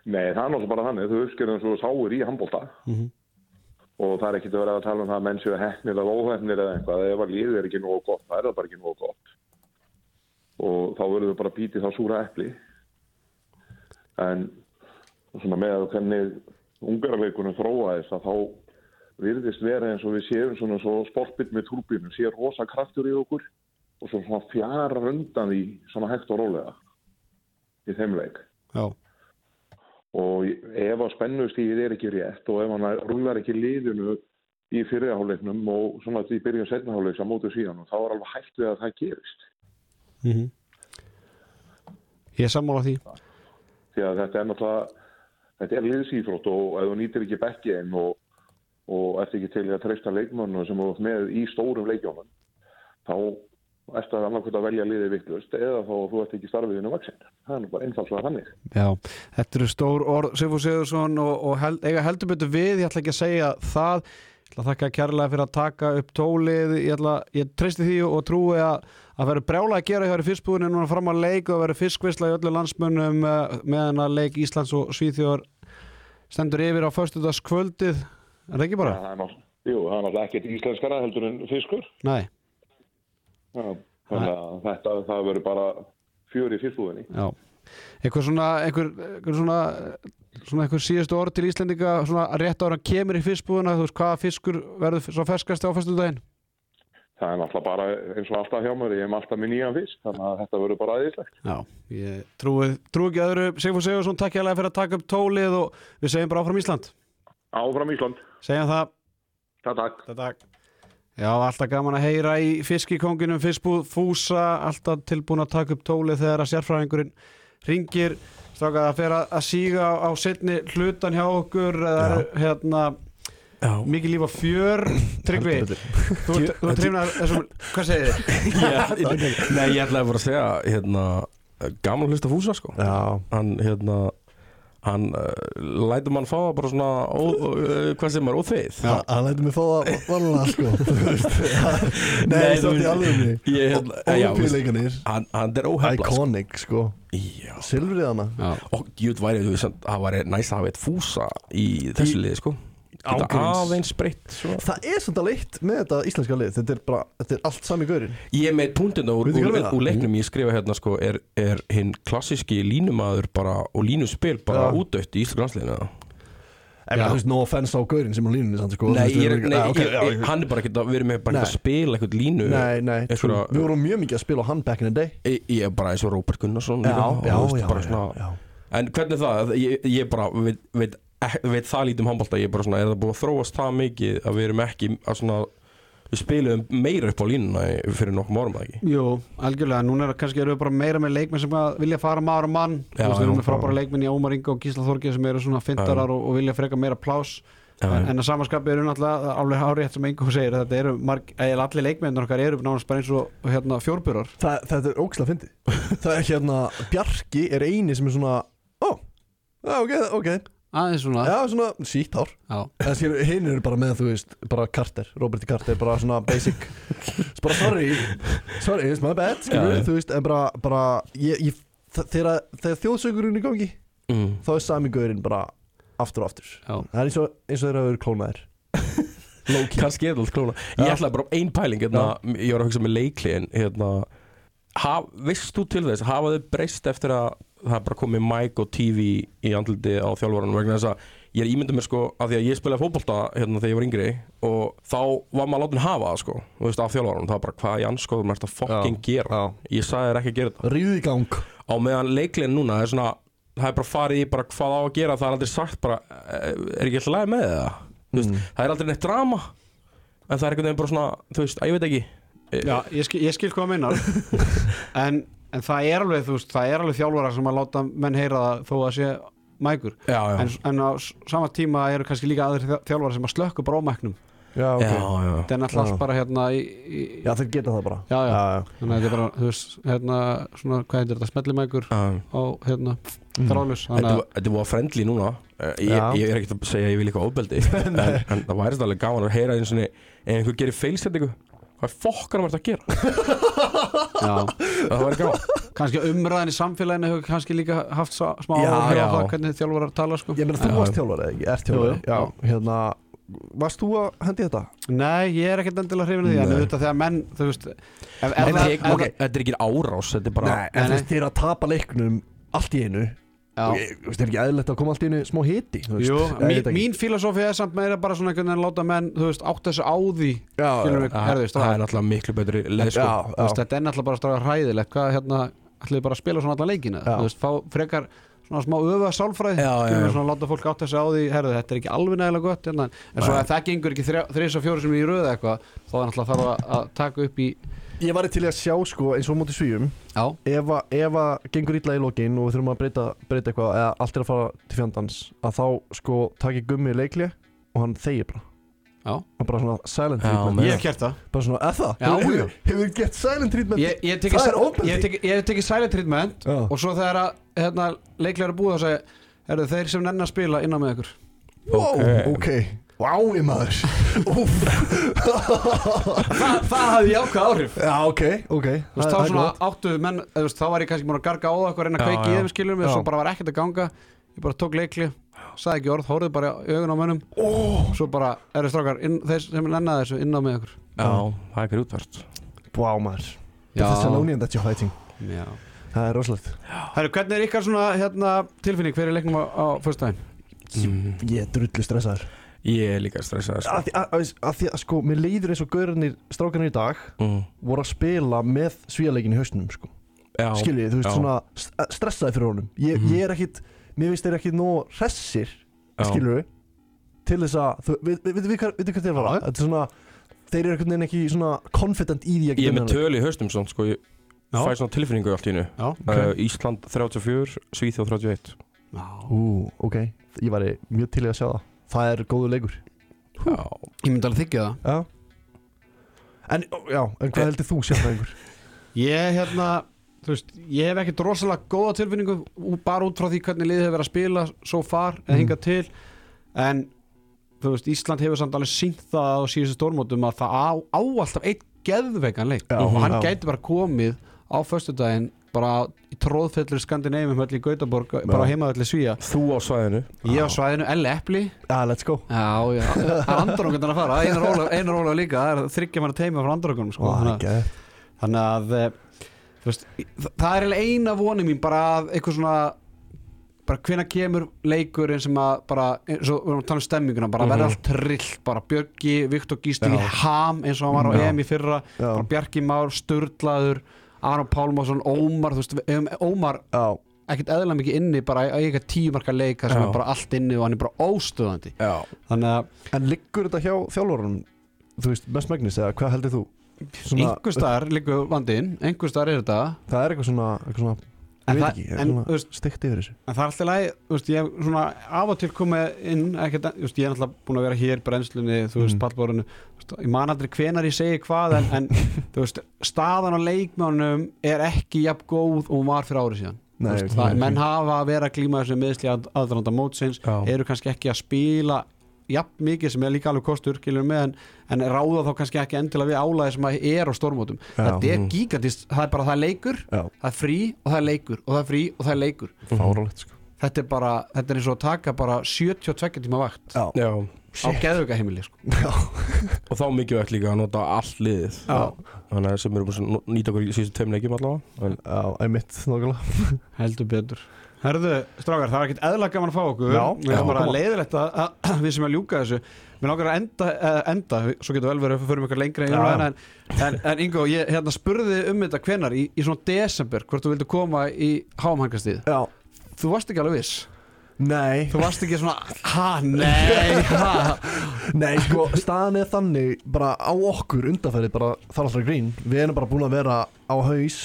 Speaker 6: Nei, það er náttúrulega bara þannig, þau uppskerðum eins og þú sáir í handbólta og það er ekkert að vera að tala um það að menn séu hefnir eða óhefnir eða eitthvað, ef að liðið er ekki nógu gott, það er það bara ekki nógu gott og þá verður þau bara að bíti þá súra epli en svona með að hvernig ungarleikunum þróaðist að þá virðist vera eins og við séum svona svo sportbit með túrbinu, sé rosa kraftur í okkur og svo svona fjarar undan því svona hægt og rólega í þeim leik
Speaker 1: Já,
Speaker 6: og ef að spennustíðið er ekki rétt og ef hann rúlar ekki liðinu í fyrirháleiknum og svona því byrjun setnaháleiks á mótu síðan og þá er alveg hægt við að það gerist
Speaker 1: ég er sammála því
Speaker 6: því að þetta er náttúrulega þetta er liðsýfrótt og ef þú nýtir ekki bekkiðin og, og ert ekki til í að treysta leikmönnum sem þú ert með í stórum leikjónum þá ert það annarkvæmt að velja liðið vittlust eða þá þú ert ekki starfið inn á vaksin það er nú bara einfalslega þannig
Speaker 1: Já, þetta eru stór orð Sigfúr Sigurðsson og, og held, eiga heldur betur við ég ætla ekki að segja það ég ætla að þakka kærlega fyrir að taka upp tólið ég, ætla, ég treysti því og trúi að að verður brjála að gera hjá þér í fyrstbúðinu núna fram að leik og verður fiskvisla í öllu landsmönnum eh, meðan að leik Íslands og Svíþjóðar stendur yfir á föstudagskvöldið er það ekki bara?
Speaker 6: það er náttúrulega, jú, það er náttúrulega ekkert íslenskara heldur en fiskur
Speaker 1: Nei,
Speaker 6: Já, þannig að þetta, það verður bara fjör í fyrstúðinni.
Speaker 1: já einhver svona, einhver, einhver svona svona einhver síðustu orð til Íslendinga svona rétt ára kemur í fiskbúðuna þú veist hvaða fiskur verður svo ferskast á föstudaginn
Speaker 6: Það er náttúrulega bara eins og alltaf hjá mér, ég hef alltaf með nýjan fisk, þannig að þetta verður bara aðeinslegt.
Speaker 1: Já, ég trúi, trúi ekki öðru Sigfúr Sigursson, takk hérlega fyrir að taka upp tólið og við segjum bara áfram Ísland
Speaker 6: Áfram Ísland,
Speaker 1: segjum það,
Speaker 6: takk takk.
Speaker 1: takk Já, alltaf gaman að heyra í fiskikonginum fiskbúð Fúsa, alltaf tilbúin að taka upp tólið þegar að sérfræðingurinn ringir, stráka að fer að að síga á setni hlutan hjá okkur eða eru, hérna
Speaker 3: Já.
Speaker 1: mikið lífa fjör Tryggvi,
Speaker 3: Heldur
Speaker 1: þú ert- þú trefnar þessum, hvað segir þið?
Speaker 3: Ég- Nei, ég ætlaði bara að segja hérna, gaman að hlusta á fúsa sko
Speaker 2: Já,
Speaker 3: hann hérna hann uh, lætur mann fá það bara svona ó, uh, hvað sem er óþveið
Speaker 1: Já.
Speaker 2: hann lætur mig fá það varlega sko Þú veist, það-
Speaker 3: Nei,
Speaker 2: Nei,
Speaker 3: þú
Speaker 2: þú veist,
Speaker 3: veist,
Speaker 2: í alveg
Speaker 3: ég-
Speaker 2: mig
Speaker 3: já,
Speaker 2: Ólimpíuleikanir,
Speaker 3: hann, hann er óhefla sko.
Speaker 2: iconic sko
Speaker 3: Já.
Speaker 2: Silfrið hana
Speaker 3: og jút væri þú veist það væri næst að hafa eitt fúsa í þessu liði sko Geta
Speaker 7: Ángríns.
Speaker 3: aðeins breytt sko. svona.
Speaker 2: Það er samt alveg eitt með þetta íslenska lið Þetta er bara, þetta er allt sami gaurinn
Speaker 3: Ég með punktin úr,
Speaker 2: Veitu hvað
Speaker 3: úr,
Speaker 2: er
Speaker 3: úr,
Speaker 2: það? Mhm.
Speaker 3: leiknum ég skrifa hérna sko er, er hinn klassíski línumaður bara og línuspil bara
Speaker 2: Já.
Speaker 3: útdött í Íslu landsliðinu
Speaker 2: En þú veist, no offense á gaurinn sem á línunni samt sko Þú
Speaker 3: Nei,
Speaker 2: veist,
Speaker 3: ég,
Speaker 2: við
Speaker 3: er-
Speaker 2: erum ekki-
Speaker 3: nei
Speaker 2: Ah, ok,
Speaker 3: ég,
Speaker 2: já,
Speaker 3: ég, hann er bara ekki að vera með bara ekki að
Speaker 2: Nei.
Speaker 3: spila eitthvað línu
Speaker 2: Nei, nei, trú,
Speaker 3: Einhverja-
Speaker 2: við vorum mjög mikið að spila á hann back in the day
Speaker 3: Ég ég er bara eins og Róbert Gunnarsson líka, og
Speaker 2: já,
Speaker 3: þú veist,
Speaker 2: já,
Speaker 3: bara
Speaker 2: já,
Speaker 3: svona-
Speaker 2: já.
Speaker 3: En hvernig það, ég, ég bara veit, veit, ek- veit það lítið um handbólta Ég er bara svona, er það búið að þróast það mikið að við erum ekki að svona Við spilum meira upp á línuna í- fyrir nokkrum árum eða ekki
Speaker 1: Jú, algjörlega, núna er, kannski erum við bara meira með leikmenn sem að vilja fara maður og mann
Speaker 3: Já,
Speaker 1: Þú veist, við
Speaker 3: já,
Speaker 1: erum með frábæra
Speaker 3: bara-
Speaker 1: leikmenn í Ómar Inga og Gísla Þorgeir sem eru svona fyndarar og, og vilja freka meira plás
Speaker 3: Já,
Speaker 1: en,
Speaker 3: já.
Speaker 1: en að samanskapi eru náttúrulega alveg hárið sem Ingo segir, að þetta eru marg, eða allir leikmenn okkar eru nánast bara eins og hérna, fjórburar
Speaker 2: Þa, Þetta er ógislega fyndið Það er hérna, Bjarki er eini sem er svona Ó, já, ok, ok
Speaker 1: aðeins svona,
Speaker 2: Já, svona sítt hár
Speaker 1: Já.
Speaker 2: En skil, hinn eru bara með, þú veist, bara Carter Roberti Carter, bara svona basic Bara sorry, sorry, it's my bad
Speaker 3: Já,
Speaker 2: skilur,
Speaker 3: já.
Speaker 2: Þú veist, en bara, bara ég, ég, þ- Þegar, þegar þjóðsökurinn er í gangi
Speaker 3: mm.
Speaker 2: Þá er sami gaurinn bara aftur og aftur
Speaker 1: Já.
Speaker 2: Það er eins og, eins og þeirra að vera klónaðir
Speaker 3: Kannski er þetta allt klóna Ég ætlaði bara um ein pæling, hérna, ég var að hugsa með leikliðin hérna, haf, Vist þú til þess, hafa þau breyst eftir að það er bara komið mæk og TV í andliti á þjálfvaranum vegna þess að ég er ímyndið mér sko að því að ég spilaði fótbolta hérna þegar ég var yngri og þá var maður látin hafa það sko þú veist, af þjálfvaranum, það var bara hvað ég anskoðum er þetta fokking gera, ég sagði þér ekki að gera þetta
Speaker 2: Ríðu í gang
Speaker 3: á meðan leiklinn núna er svona það er bara farið í bara hvað á að gera það er aldrei sagt bara eh, er ekki alltaf læg með það Þú veist, það er aldrei neitt drama en það er einhvern veginn bara svona þú veist, að ég veit ekki
Speaker 1: Já, ég skil, ég skil hvað minnar en, en það er alveg, þú veist, það er alveg þjálfarar sem að láta menn heyra það þó að sé mækur
Speaker 3: já, já,
Speaker 1: en, en á s- sama tíma eru kannski líka aðrir þjá- þjálfarar sem að slökku bara á mæknum
Speaker 2: Já, ok
Speaker 3: já, já.
Speaker 1: þetta er náttúrulega allt bara hérna í, í,
Speaker 2: Já, þeir geta það bara
Speaker 1: Já, já.
Speaker 2: já.
Speaker 1: þannig að þetta er bara, þú veist, hérna svona, hvað heitir þetta, smellimækur
Speaker 3: Um,
Speaker 1: á, hérna, þráðljus
Speaker 3: Mm. þetta
Speaker 1: þannig að,
Speaker 3: var- þetta var friendly núna Eh, ég,
Speaker 2: Já.
Speaker 3: ég er ekkert að segja að ég vil eitthvað ofbeldi en, en það væri þetta alveg gaman að heyra eins og ef einhver gerir feilsendingu hvað fokkar var þetta að gera
Speaker 1: já,
Speaker 3: það væri gaman
Speaker 1: kannski umræðin í samfélaginu hefur kannski líka haft sa- smá
Speaker 2: Já,
Speaker 1: áhrif á
Speaker 3: já.
Speaker 1: það hvernig þjálfarar tala, sko
Speaker 2: Ég meina, þú
Speaker 3: Já.
Speaker 2: varst þjálfari, eða ekki? Ert þjálfari?
Speaker 1: Jú, jú.
Speaker 2: Já, hérna Varst þú að hendi þetta?
Speaker 1: Nei, ég er ekkert endilega hrifin af því, en
Speaker 3: Nei.
Speaker 1: auðvitað þegar menn, þú veist ef, ef,
Speaker 3: En
Speaker 1: það-
Speaker 3: ég- ok, þetta er ekki árás þetta er bara
Speaker 2: en
Speaker 1: Nei,
Speaker 2: þú veist, þeir að tapa leiknum allt í einu og
Speaker 1: já,
Speaker 2: ég- Þú veist, er ekki eðlilegt að koma allt í einu smá hiti þú veist?
Speaker 1: jú,
Speaker 2: Ég veit
Speaker 1: mín,
Speaker 2: ekki.
Speaker 1: mín filosofi er samt meira bara svona einhvern veginn að láta menn, þú veist, átt þessu á því
Speaker 2: Já,
Speaker 1: skilur
Speaker 2: já,
Speaker 1: mig,
Speaker 3: það
Speaker 1: herðu,
Speaker 3: það er náttúrulega miklu betri leið sko.
Speaker 2: já,
Speaker 1: þú veist, þetta er náttúrulega bara stráðar hræðilegt hvað hérna, ætlum við bara að spila svona alla leikina
Speaker 2: Já.
Speaker 1: þú veist, fá frekar svona smá öfa sálfræði,
Speaker 3: Já, já,
Speaker 1: skilur
Speaker 3: já.
Speaker 1: við svona láta fólk átt þessi á því, herðu, þetta er ekki alveg nægilega gott hérna, en svo að það gengur ekki þrís og fjóri sem er í röðu eitthvað, þá er náttúrulega þarf að- að taka upp í,
Speaker 2: Ég var til í að sjá, sko, eins og á móti svíum
Speaker 1: já,
Speaker 2: Ef að- ef að gengur illa í lokin og við þurfum að breyta, breyta eitthvað eða allt er að fara til fjandans að þá, sko, taki gummi leikli og hann þegir bara
Speaker 1: Já.
Speaker 2: Hann bara svona silent
Speaker 3: Já,
Speaker 2: treatment
Speaker 3: Ég
Speaker 1: hef gert það
Speaker 2: Bara svona, eða það?
Speaker 1: Já,
Speaker 2: Hefur-
Speaker 1: jú.
Speaker 2: Hefur gett silent treatment?
Speaker 1: Ég ég hef tekið
Speaker 2: Það er
Speaker 1: sa-
Speaker 2: ofbeldi.
Speaker 1: ég hef tekið- ég hef tekið silent treatment
Speaker 2: Já.
Speaker 1: og svo þegar að hérna, leiklega er búið þá segja Herðu, þeir sem nenn að spila innan með ykkur
Speaker 2: Wow,
Speaker 3: Ok.
Speaker 2: ok Vá, ég maður Úff.
Speaker 1: Það, það hafði jákvæð áhrif
Speaker 2: Já, ok, ok
Speaker 1: Þú veist, þá svona áttu menn, þú veist, þá var ég kannski múin að garga á það eitthvað, reyna að
Speaker 3: Já,
Speaker 1: kveiki í
Speaker 3: já.
Speaker 1: þeim skiljum og
Speaker 2: Já.
Speaker 1: svo bara var ekkert að ganga ég bara tók leikli, sagði ekki orð, hóruði bara í augun á mönnum
Speaker 2: oh.
Speaker 1: svo bara, eru strákar, inn, þeir sem nennaði þessu inn á með ykkur
Speaker 3: já, það er grútvart
Speaker 2: Vá, maður Þetta er Salonian that you're fighting
Speaker 1: já.
Speaker 2: Það er rosalegt
Speaker 1: Herru, hvernig er ykkar svona hérna, tilfinning fyrir leiknum á, á fyrstæðin? Mm.
Speaker 3: Mm.
Speaker 2: Ég er drullu stressaður
Speaker 3: Ég er líka stressaður sko.
Speaker 2: Af því að, að, að, því að sko, mér leiður eins og gaurarnir strákarnir í dag
Speaker 3: mm.
Speaker 2: voru að spila með svíjaleikin í hausnum sko.
Speaker 3: Já,
Speaker 2: Skiljið, þú veist,
Speaker 3: já. Mhm.
Speaker 2: svona st- stressaði fyrir honum Ég, ég er ekkit, mér veist þeir ekkit nóg hressir
Speaker 3: já.
Speaker 2: Skiljið Til þess að, þú- við- við- veitum við hvað veitum hvað þeir fara? Þetta er svona, þeir eru einhvern veginn ekki svona confident í því að
Speaker 3: Ég er
Speaker 2: geta unnið
Speaker 3: með
Speaker 2: hann.
Speaker 3: tölu í haustum svona, sko, ég
Speaker 1: Já.
Speaker 3: fæ svona tilfinningu allt í hennu
Speaker 1: Já,
Speaker 3: okay. Ísland 34, Svíþjóð 31
Speaker 1: Ég
Speaker 2: Ú, ok, ég væri mjög til í að sjá það Það er góðu leikur
Speaker 3: Já,
Speaker 1: myndi alveg þykja það
Speaker 2: Já
Speaker 3: Eh.
Speaker 2: En, ó, já, en hvað heldur þú sjálf einhver?
Speaker 1: Ég, hérna, þú veist, ég hef ekkert rosalega góða tilfinningu ú- bara út frá því hvernig liðið hefur verið að spila so far
Speaker 2: Mhm.
Speaker 1: eða hingað til en þú veist, Ísland hefur samt alveg sínt það á síðustu stórmótum að það á, á alltaf eitt geðveikan leik
Speaker 2: Já,
Speaker 1: og hann
Speaker 2: já.
Speaker 1: gæti bara komið á föstudaginn bara í tróðfellir Skandinavum öll í Gautaborg, bara heimaðalli Svíja
Speaker 3: Þú á svæðinu
Speaker 1: ég á svæðinu Elle Epli
Speaker 2: Já, let's go
Speaker 1: Já, já, það er andarókundan að fara Einar Ólaf, Einar Ólaf líka, það er þryggja manna teima frá andarókunum sko. þannig,
Speaker 2: Þannig að-
Speaker 1: að- þannig að eh, þú veist, þa- það er eiginlega eina voni mín bara að eitthvað svona bara hvenær kemur leikurinn sem að bara, eins og við erum að tala um stemminguna bara
Speaker 2: Mhm.
Speaker 1: verði allt trillt, bara Björki Viktor Gísli í ham eins og hann var á EM í fyrra,
Speaker 2: Já.
Speaker 1: bara Bjarki Már Sturlaður, Aron Pálmarsson Ómar, þú veist, við eigum Ómar
Speaker 2: Já,
Speaker 1: ekkert eðla mikið inni, bara eitthvað tímarka leik þar sem
Speaker 3: Já.
Speaker 1: er bara allt inni og hann er bara óstöðandi
Speaker 3: Já
Speaker 1: þannig að
Speaker 2: en liggur þetta hjá þjálfurunum Þú veist, mest megnis eða hvað heldur þú? Svona-
Speaker 1: einhver staðar liggur vandinn einhver staðar er þetta
Speaker 2: Það er eitthvað svona, eitthvað svona
Speaker 1: En
Speaker 2: Ég veit
Speaker 1: það-
Speaker 2: ekki,
Speaker 1: en,
Speaker 2: eitthvað
Speaker 1: þú veist-
Speaker 2: svona stygt yfir þessu
Speaker 1: en það er alltaf læg veist, ég hef svona af og til komið inn ekkert, þú veist, ég er alltaf búin að vera hér brennslunni, þú veist,
Speaker 2: Mm.
Speaker 1: mm. pallborinu ég man aldrei hvenar ég segi hvað en, en þú veist, staðan á leikmánum er ekki jafn góð og hún var fyrir árið síðan Þú
Speaker 2: Nei,
Speaker 1: veist,
Speaker 2: nei,
Speaker 1: það,
Speaker 2: nei.
Speaker 1: menn hafa að vera að glíma þessu meðsli aðranda mótsins,
Speaker 3: Já.
Speaker 1: eru kannski ekki að spila jafn mikið sem er líka alveg kostur kilur með en, en ráða þá kannski ekki endilega við álæði sem að er á stormótum það er
Speaker 3: mhm.
Speaker 1: gigantist, það er bara það er leikur
Speaker 2: Mm. Já.
Speaker 1: það er frí og það er leikur og það er frí og það er leikur
Speaker 2: Fáralegt sko
Speaker 1: þetta er bara, þetta er eins og að taka bara 72 tíma vakt
Speaker 2: Já.
Speaker 3: Já
Speaker 1: á geðvöka heimili sko.
Speaker 3: Og þá mikilvægt líka að nota allt liðið
Speaker 1: Já.
Speaker 3: Þannig að sem eru búin að nú- nýta okkur í síðustu tveim leikjum allavega en,
Speaker 2: Já, einmitt, nákvæmlega
Speaker 1: heldur betur Herðu, strákar, það er ekkert eðla gaman að fá okkur
Speaker 2: Já,
Speaker 1: Við
Speaker 2: já,
Speaker 1: erum bara
Speaker 2: koma.
Speaker 1: leiðilegt að, að við sem er að ljúka þessu Mér langar að enda, eh, enda svo getur vel verið að við förum eitthvað lengra í umræðina en, en, en Ingo, ég hérna spurði um þetta hvenar í, í svona desember hvort þú vildi koma í hámhangastíð
Speaker 2: Já
Speaker 1: Þú varst ekki alveg viss
Speaker 2: Nei,
Speaker 1: Þú varst ekki svona, ha, nei, ha
Speaker 2: nei, sko, staðan er þannig bara á okkur undanferði bara þar alltaf grín Við erum bara búin að vera á haus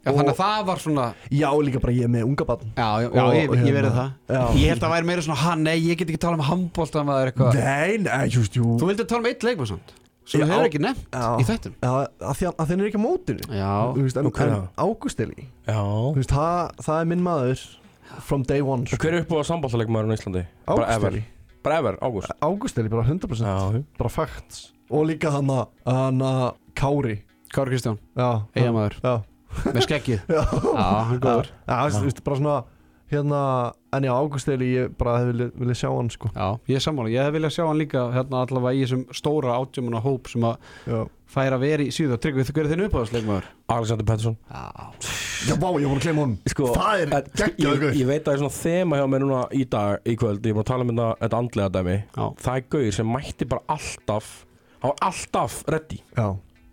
Speaker 1: Já, þannig
Speaker 2: og-
Speaker 1: að það var svona
Speaker 2: Já, líka bara ég er með unga barn
Speaker 1: Já, já, já
Speaker 2: Og
Speaker 1: ég, ég verið
Speaker 2: hérna,
Speaker 1: það
Speaker 2: já.
Speaker 1: Ég held að það væri meira svona, ha, nei, ég get ekki tala um handbólta maður eitthvað
Speaker 2: Nei, nei, just, jú
Speaker 1: Þú vildi tala um eitt leikmann samt sem
Speaker 2: Já.
Speaker 1: þú hefur ekki nefnt
Speaker 2: Já.
Speaker 1: í þættinum
Speaker 2: Já, að því að þeir eru ekki á mótinu
Speaker 1: Já.
Speaker 2: Þú veist, en,
Speaker 3: Ok.
Speaker 2: okay. en Ágústeli Þú
Speaker 3: Já
Speaker 2: veist, það, það er minn maður From day one sko.
Speaker 3: Hver er upp á sambaltalegmaðurinn á Íslandi? Bara ever
Speaker 2: Ágústeli
Speaker 3: Bara ever, Ágúst
Speaker 2: Ágústeli, bara 100%
Speaker 3: Já
Speaker 2: Bara facts Og líka hann að hann að Kári
Speaker 1: Kári Kristján,
Speaker 2: Já
Speaker 1: eigamæður,
Speaker 2: Já
Speaker 1: með skeggið
Speaker 2: Já
Speaker 1: Já, hann er góður
Speaker 2: Já, þú veist, bara svona Hérna En já, Ágústeli Ég bara hef vilja, vilja sjá hann sko
Speaker 1: Já, ég er sammála, ég vilja sjá hann líka hérna allavega í þessum stóra átjömmuna hóp sem að
Speaker 2: Já
Speaker 1: færa veri í síðu og tryggvi þú gerir þinn uppáðsleikmaður
Speaker 3: Alexander Pettersson
Speaker 1: Já,
Speaker 2: Já, vá, ég voru að gleyma honum
Speaker 3: Sko,
Speaker 2: Það er
Speaker 3: en-
Speaker 2: geggjaður
Speaker 3: ég,
Speaker 2: gaur.
Speaker 3: ég veit að það er svona þema hjá mér núna í dag í kvöld, ég er búin að tala um þetta- þetta andlega dæmi
Speaker 1: Já.
Speaker 3: það er gauðir sem mætti bara alltaf hann var alltaf ready
Speaker 2: Já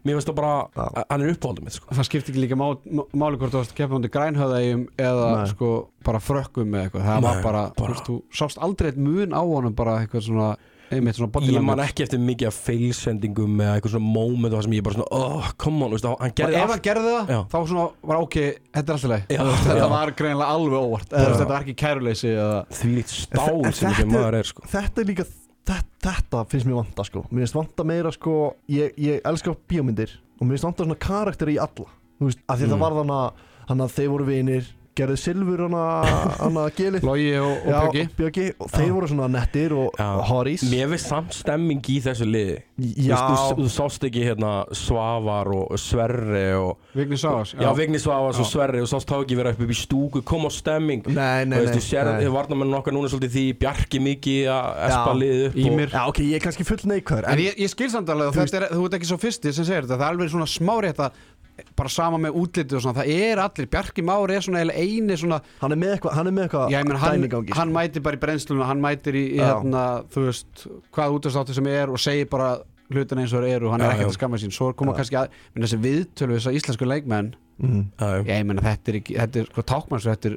Speaker 3: mér finnst það bara,
Speaker 2: Já.
Speaker 3: hann er uppáhaldum mitt sko.
Speaker 1: það skiptir ekki líka má- má- máli hvort þú varst að keppa hundi grænhöðaðjum eða
Speaker 2: Nei.
Speaker 1: sko bara frökkum eða eitthvað það var
Speaker 3: Nei,
Speaker 1: bara, Þú,
Speaker 3: bara-
Speaker 1: veist, þú sást aldrei eitt mun á honum bara eitthvað svona einmitt svona body
Speaker 3: ég man
Speaker 1: language.
Speaker 3: ekki eftir mikið af feilsendingum eða eitthvað svona moment og það sem ég bara svona oh, come on, veist, hann
Speaker 1: og
Speaker 3: gerði
Speaker 1: ef hann
Speaker 3: allt
Speaker 1: gerði það,
Speaker 3: Já.
Speaker 1: þá svona var ok þetta er alltaf leið,
Speaker 3: Já.
Speaker 1: þetta
Speaker 3: Já.
Speaker 1: var greinilega alveg óvart eða þú veist, þetta var ekki kæruleysi eða
Speaker 3: því líkt
Speaker 2: En
Speaker 3: stál
Speaker 2: þe-
Speaker 3: sem
Speaker 2: þetta-
Speaker 3: þessi maður er sko.
Speaker 2: Þetta er líka þetta, þetta finnst mér vanta sko Mér finnst vanta meira sko Ég, ég elska bíómyndir Og mér finnst vanta svona karakter í alla Þú veist, af því
Speaker 3: Mm.
Speaker 2: það var þannig að Þannig að þeir voru vinir Gerðu silfur hana Hana gelið
Speaker 1: logi og, og bjöggi
Speaker 2: Bjöggi Og þeir voru svona nettir og
Speaker 3: Já.
Speaker 2: horís
Speaker 3: mér finnst samt stemming í þessu liði Þú
Speaker 2: Já
Speaker 3: veist, þú, þú sást ekki hérna Svavar og Sverri og
Speaker 1: Vigni Sáas
Speaker 3: Já, Vigni Svavas og Sverri og sást þá ekki vera upp upp í stúku, kom á stemming
Speaker 2: Nei, nei,
Speaker 3: Þú veist,
Speaker 2: nei,
Speaker 3: þú sér
Speaker 2: nei.
Speaker 3: að varnamennin okkar núna er svolítið því Bjarki mikið að espa
Speaker 2: Já,
Speaker 3: liðið upp
Speaker 1: Ýmir.
Speaker 2: Já, ok, ég er kannski full neikvæður
Speaker 1: En ég, ég skil samt alveg að þetta er, þú ert ekki svo fyrsti sem segir þetta, það er alveg svona smárétt að bara sama með útlitið og svona, það er allir Bjarki Már er svona eiginlega eini svona
Speaker 2: Hann er með eitthvað Hann er með eitthvað
Speaker 1: já, ég menn, hann,
Speaker 2: dæmi í gangi, sko.
Speaker 1: hann mætir bara í brennsluna hann mætir í, í
Speaker 2: Já.
Speaker 1: hérna, þú veist hvað útastátti sem er og segir bara hlutin eins og þeir eru og hann
Speaker 3: Já,
Speaker 1: er ekkert
Speaker 3: já.
Speaker 1: að skamma sín svo koma kannski að, menn þessi viðtölu þess að íslensku leikmenn,
Speaker 2: Mhm.
Speaker 3: og
Speaker 1: já, ég menna þetta er ekki þetta er, sko, tákmanns þetta er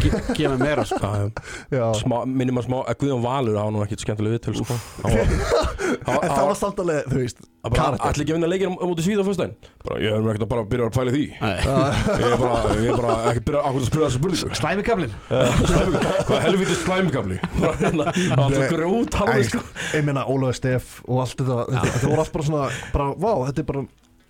Speaker 1: ge- gefið meira, sko
Speaker 2: Já
Speaker 3: smá, minnum að smá, að Guðjón Valur hafa nú ekkert skemmtilega viðtöl sko. Hann var- hann
Speaker 2: En
Speaker 3: var-
Speaker 2: það
Speaker 3: hann
Speaker 2: var samt alveg, þú veist
Speaker 3: var bara,
Speaker 2: Karakter
Speaker 3: Allir ekki að vinna leikir á á móti svíða á föstudaginn Bara, ég er ekkert að bara byrja að pæla í því Ég er bara, ég er bara ekki byrja að spyrja þessu spurningu
Speaker 1: slæmi kaplinn
Speaker 3: Slæmi- Hvað helviti slæmigafli Bara hérna, alltaf grút
Speaker 2: Æ,
Speaker 3: hann sko
Speaker 2: Ég meina Ólaður Steff og allt þetta þetta- Þetta voru allt bara svona bara, Vá, þetta er bara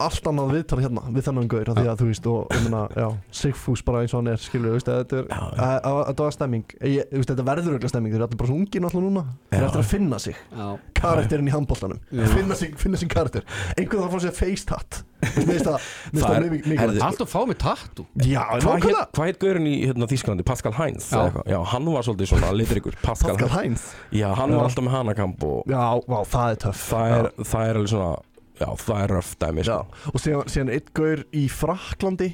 Speaker 2: allt annað viðtal hérna við þennan gaur af því að þú veist og ég meina, já, Sigfús bara eins og hann er skilur, þú veist, að þetta er
Speaker 3: Já, já.
Speaker 2: að- að- að þetta var stemming, ég, þú veist, þetta verður auðvitað stemming, þeir eru allir bara svo ungir náttúrulega núna þeir eru
Speaker 3: Já,
Speaker 2: eftir að finna sig,
Speaker 1: Já.
Speaker 2: karakterinn í handbóltanum finna sig, finna sig karakter einhvern þarf að fá sér face tat Þú veist, mér finnst það, mér finnst
Speaker 3: Það er-
Speaker 2: það
Speaker 3: herðu,
Speaker 2: mikið
Speaker 1: Allt að fá mig tattu
Speaker 2: já,
Speaker 3: Hvað
Speaker 2: nákvæmlega,
Speaker 3: hét- hvað heit gaurinn í hérna, Þísklandi? Pascal Heinz?
Speaker 1: Já.
Speaker 3: eða eitthvað? já, hann var svolítið svona litrikur Pascal,
Speaker 2: Pascal Heinz
Speaker 3: Já, hann
Speaker 2: Já.
Speaker 3: var alltaf með hanakamp og
Speaker 2: já, vá, það er töff
Speaker 3: það er, það er alveg svona Já, það er röft dæmi
Speaker 2: Já,
Speaker 3: sko.
Speaker 2: og síðan, síðan einn gaur í Fraklandi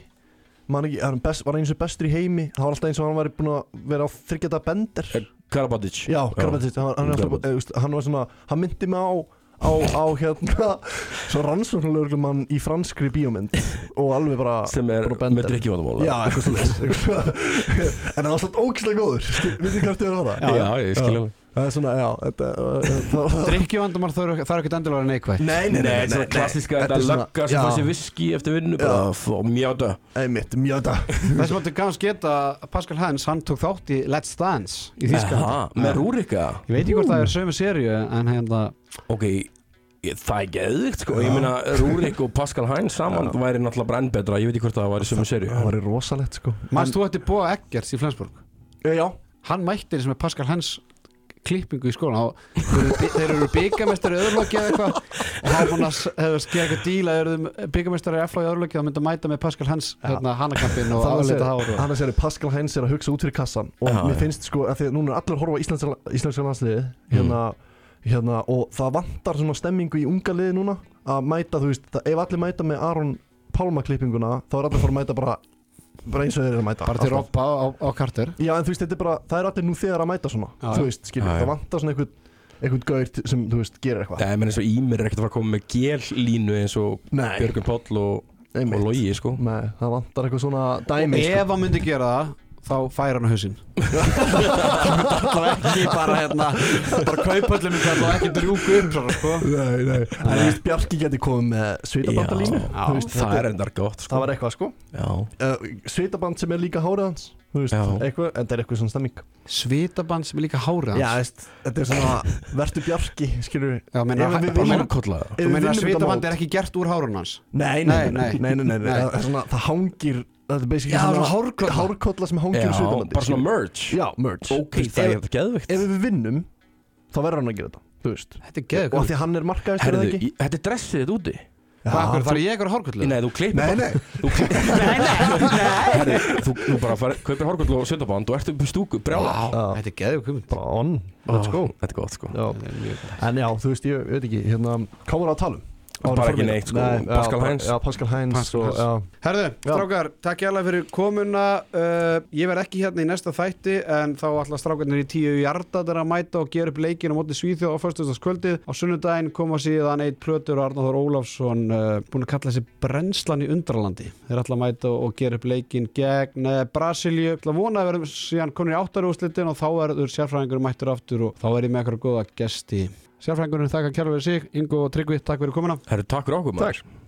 Speaker 2: man ekki, hann best, var eins og bestur í heimi það var alltaf eins og hann væri búin að vera á þryggjata bender
Speaker 3: Eh, Karabatic
Speaker 2: já, Karabatic, hann, hann, er alltaf,
Speaker 3: Karabatic.
Speaker 2: eh, veist, hann var svona hann myndi mig á á, á hérna svo rannsóknulegurlum hann í franskri bíómynd og alveg bara
Speaker 3: sem er
Speaker 2: bara
Speaker 3: með
Speaker 2: bender.
Speaker 3: drikkjumáttamóla
Speaker 2: já, eitthvað svolítið eitthvað svoleiðis. en hann var alltaf ógislega góður við þið hvert ég var það
Speaker 3: já, ég skil alveg
Speaker 2: það er svona, já þetta, uh, það,
Speaker 1: Drykkjuvandumar það eru ekkert endurlega neikvægt
Speaker 2: nei,
Speaker 3: Nei, þetta er svona klassíska Þetta
Speaker 2: er svona-
Speaker 3: lögga sem
Speaker 2: já.
Speaker 3: fær sér viski eftir vinnu bara og mjáta
Speaker 2: einmitt, mjöta
Speaker 1: Þess að þetta gafst geta að Pascal Hans hann tók þátt í Let's Dance í Þýskalandi
Speaker 3: Með rúrika
Speaker 1: Ég veit ekki hvort það er sömu seríu en hérna
Speaker 3: Ok, ég- það er geðvikt sko Ég meina Rúrik og Pascal Heinz saman væri náttúrulega brenn betra Ég veit ekki hvort það væri sömu seri
Speaker 2: það var rosalegt sko
Speaker 1: Manst þú ætti Boa Eggerts í Flensborg?
Speaker 2: Eh, já,
Speaker 1: Hann mætti eins og með Pascal Hans klippingu í skólan og þeir eru- þeir eru byggamestari öðurlöki eða eitthvað og hann búin að s- hefur skilja eitthvað díla þeir eru byggamestari eflag í öðurlöki þá myndi að mæta með Pascal Hans hérna hannakampin og
Speaker 2: Þannig
Speaker 1: afleita
Speaker 2: að
Speaker 1: hár
Speaker 2: segja-
Speaker 1: og-
Speaker 2: þannig að segja Pascal Heinz er að hugsa út fyrir kassan og
Speaker 3: Já,
Speaker 2: mér
Speaker 3: já.
Speaker 2: finnst sko að því að núna er allir að horfa á íslenska, íslenska landsliði hérna, hérna, og það vantar svona stemmingu í unga liði núna að mæta, þú veist, það, ef allir mæta með Aron Pálma klippinguna þá er allir að fara að mæta bara, bara eins og þeir eru að mæta
Speaker 1: bara til
Speaker 2: alltaf.
Speaker 1: Robba á, á kartir
Speaker 2: Já en þú veist, þetta er bara, það er allir nú þegar að mæta svona
Speaker 1: Já,
Speaker 2: þú
Speaker 1: já.
Speaker 2: veist, skilur,
Speaker 3: Já, já.
Speaker 2: það vantar svona einhvern einhvern gaur t- sem, þú veist, gerir eitthvað
Speaker 3: Það er með eins og Ímir er ekkert að fara að koma með gellínu eins og
Speaker 2: Nei.
Speaker 3: Björgun Páll og, og
Speaker 2: Einmitt.
Speaker 3: Logi sko
Speaker 2: Nei, það vantar eitthvað svona dæmi sko.
Speaker 1: ef hann myndi gera það þá fær hann á hausinn allavega ekki bara hérna bara kaupöllum myndi allavega ekki drjúku upp svona, sko.
Speaker 2: Nei, nei, en þú veist, Bjarki geti komið með svitabandalínu
Speaker 3: Já,
Speaker 2: þú veist,
Speaker 3: það
Speaker 2: þetta-
Speaker 3: er endar gott sko
Speaker 2: það var eitthvað sko
Speaker 3: Já,
Speaker 2: uh, sveitaband sem er líka hárið hans þú veist,
Speaker 3: Já.
Speaker 2: eitthvað, en það er eitthvað svona stemming
Speaker 1: svitaband sem er líka hárið
Speaker 2: Já,
Speaker 1: hans
Speaker 2: veist, þetta er svona vertu bjarki, skilur við
Speaker 1: Já, meina,
Speaker 2: Ef við
Speaker 1: bara
Speaker 2: vinnum-
Speaker 1: meina-
Speaker 3: Hárkolla
Speaker 2: Ef
Speaker 1: Þú
Speaker 2: við
Speaker 1: meina að
Speaker 2: vinnum þetta
Speaker 1: svitaband
Speaker 2: mót-
Speaker 1: er ekki gert úr hárun hans
Speaker 2: nei,
Speaker 1: Nei,
Speaker 2: nei, nei, nei, nei, nei, nei, nei. Það, er svona, það hangir, þetta er basically
Speaker 1: Já,
Speaker 2: svona
Speaker 1: svona hárkolla.
Speaker 2: hárkolla sem hangir
Speaker 3: Já,
Speaker 2: í sveitabandi
Speaker 3: bara svona merch
Speaker 2: já, merch
Speaker 3: Ok,
Speaker 2: Þú veist,
Speaker 3: það
Speaker 2: ef,
Speaker 3: er geðvikt
Speaker 2: ef við vinnum, þá verður hann að gera þetta þú veist,
Speaker 1: Þetta er
Speaker 2: og af
Speaker 1: geðugur
Speaker 2: því að hann er markaðist
Speaker 3: Herðu, í- þetta er dressið þetta úti
Speaker 1: Hvað þarf ég ykkur hárkullu?
Speaker 3: Nei, þú klippir
Speaker 2: Nei,
Speaker 3: bara-
Speaker 2: nei.
Speaker 3: Þú klippir Herðu, þú, þú bara fari, kaupir hárkoll og sjöndaband og ertu upp í stúku brjála
Speaker 1: Vá, Þetta er geðugur kumund
Speaker 2: bara on, let's go
Speaker 3: Þetta er gott sko
Speaker 2: já. En já, þú veist, ég veit ekki, hérna, hvað voru að tala um?
Speaker 3: Bara
Speaker 2: Áður en
Speaker 3: ekki
Speaker 2: fórum í-
Speaker 3: neitt, sko.
Speaker 2: Nei, já,
Speaker 3: Pascal
Speaker 2: bara-
Speaker 3: Heinz.
Speaker 2: Já, Pascal Heinz
Speaker 1: Pascal
Speaker 2: og,
Speaker 1: Heinz.
Speaker 2: já,
Speaker 1: Herðu,
Speaker 2: Já.
Speaker 1: strákar, takk ég alveg fyrir komuna uh, Ég verð ekki hérna í næsta þætti en þá ætla strákarnir í tíu hjarta þeirra að mæta og gera upp leikin á móti Svíþjóð á föstudagskvöldið á sunnudaginn koma síðan eitt plötur og Arnáður Ólafsson uh, búin að kalla þessi brennslan í undralandi þeir ætla að mæta og gera upp leikin gegn uh, Brasilíu, ætla að vona að verðum síðan konur í áttarúslitin og þá verður sérfræðingur mættur aftur og þá er ég með eitthvað góða gesti Sérfræðingurinn þakka kjærlega fyrir sig, Ingo og Tryggvi, takk fyrir komuna
Speaker 3: Herru, takk fyrir okkur maður Takk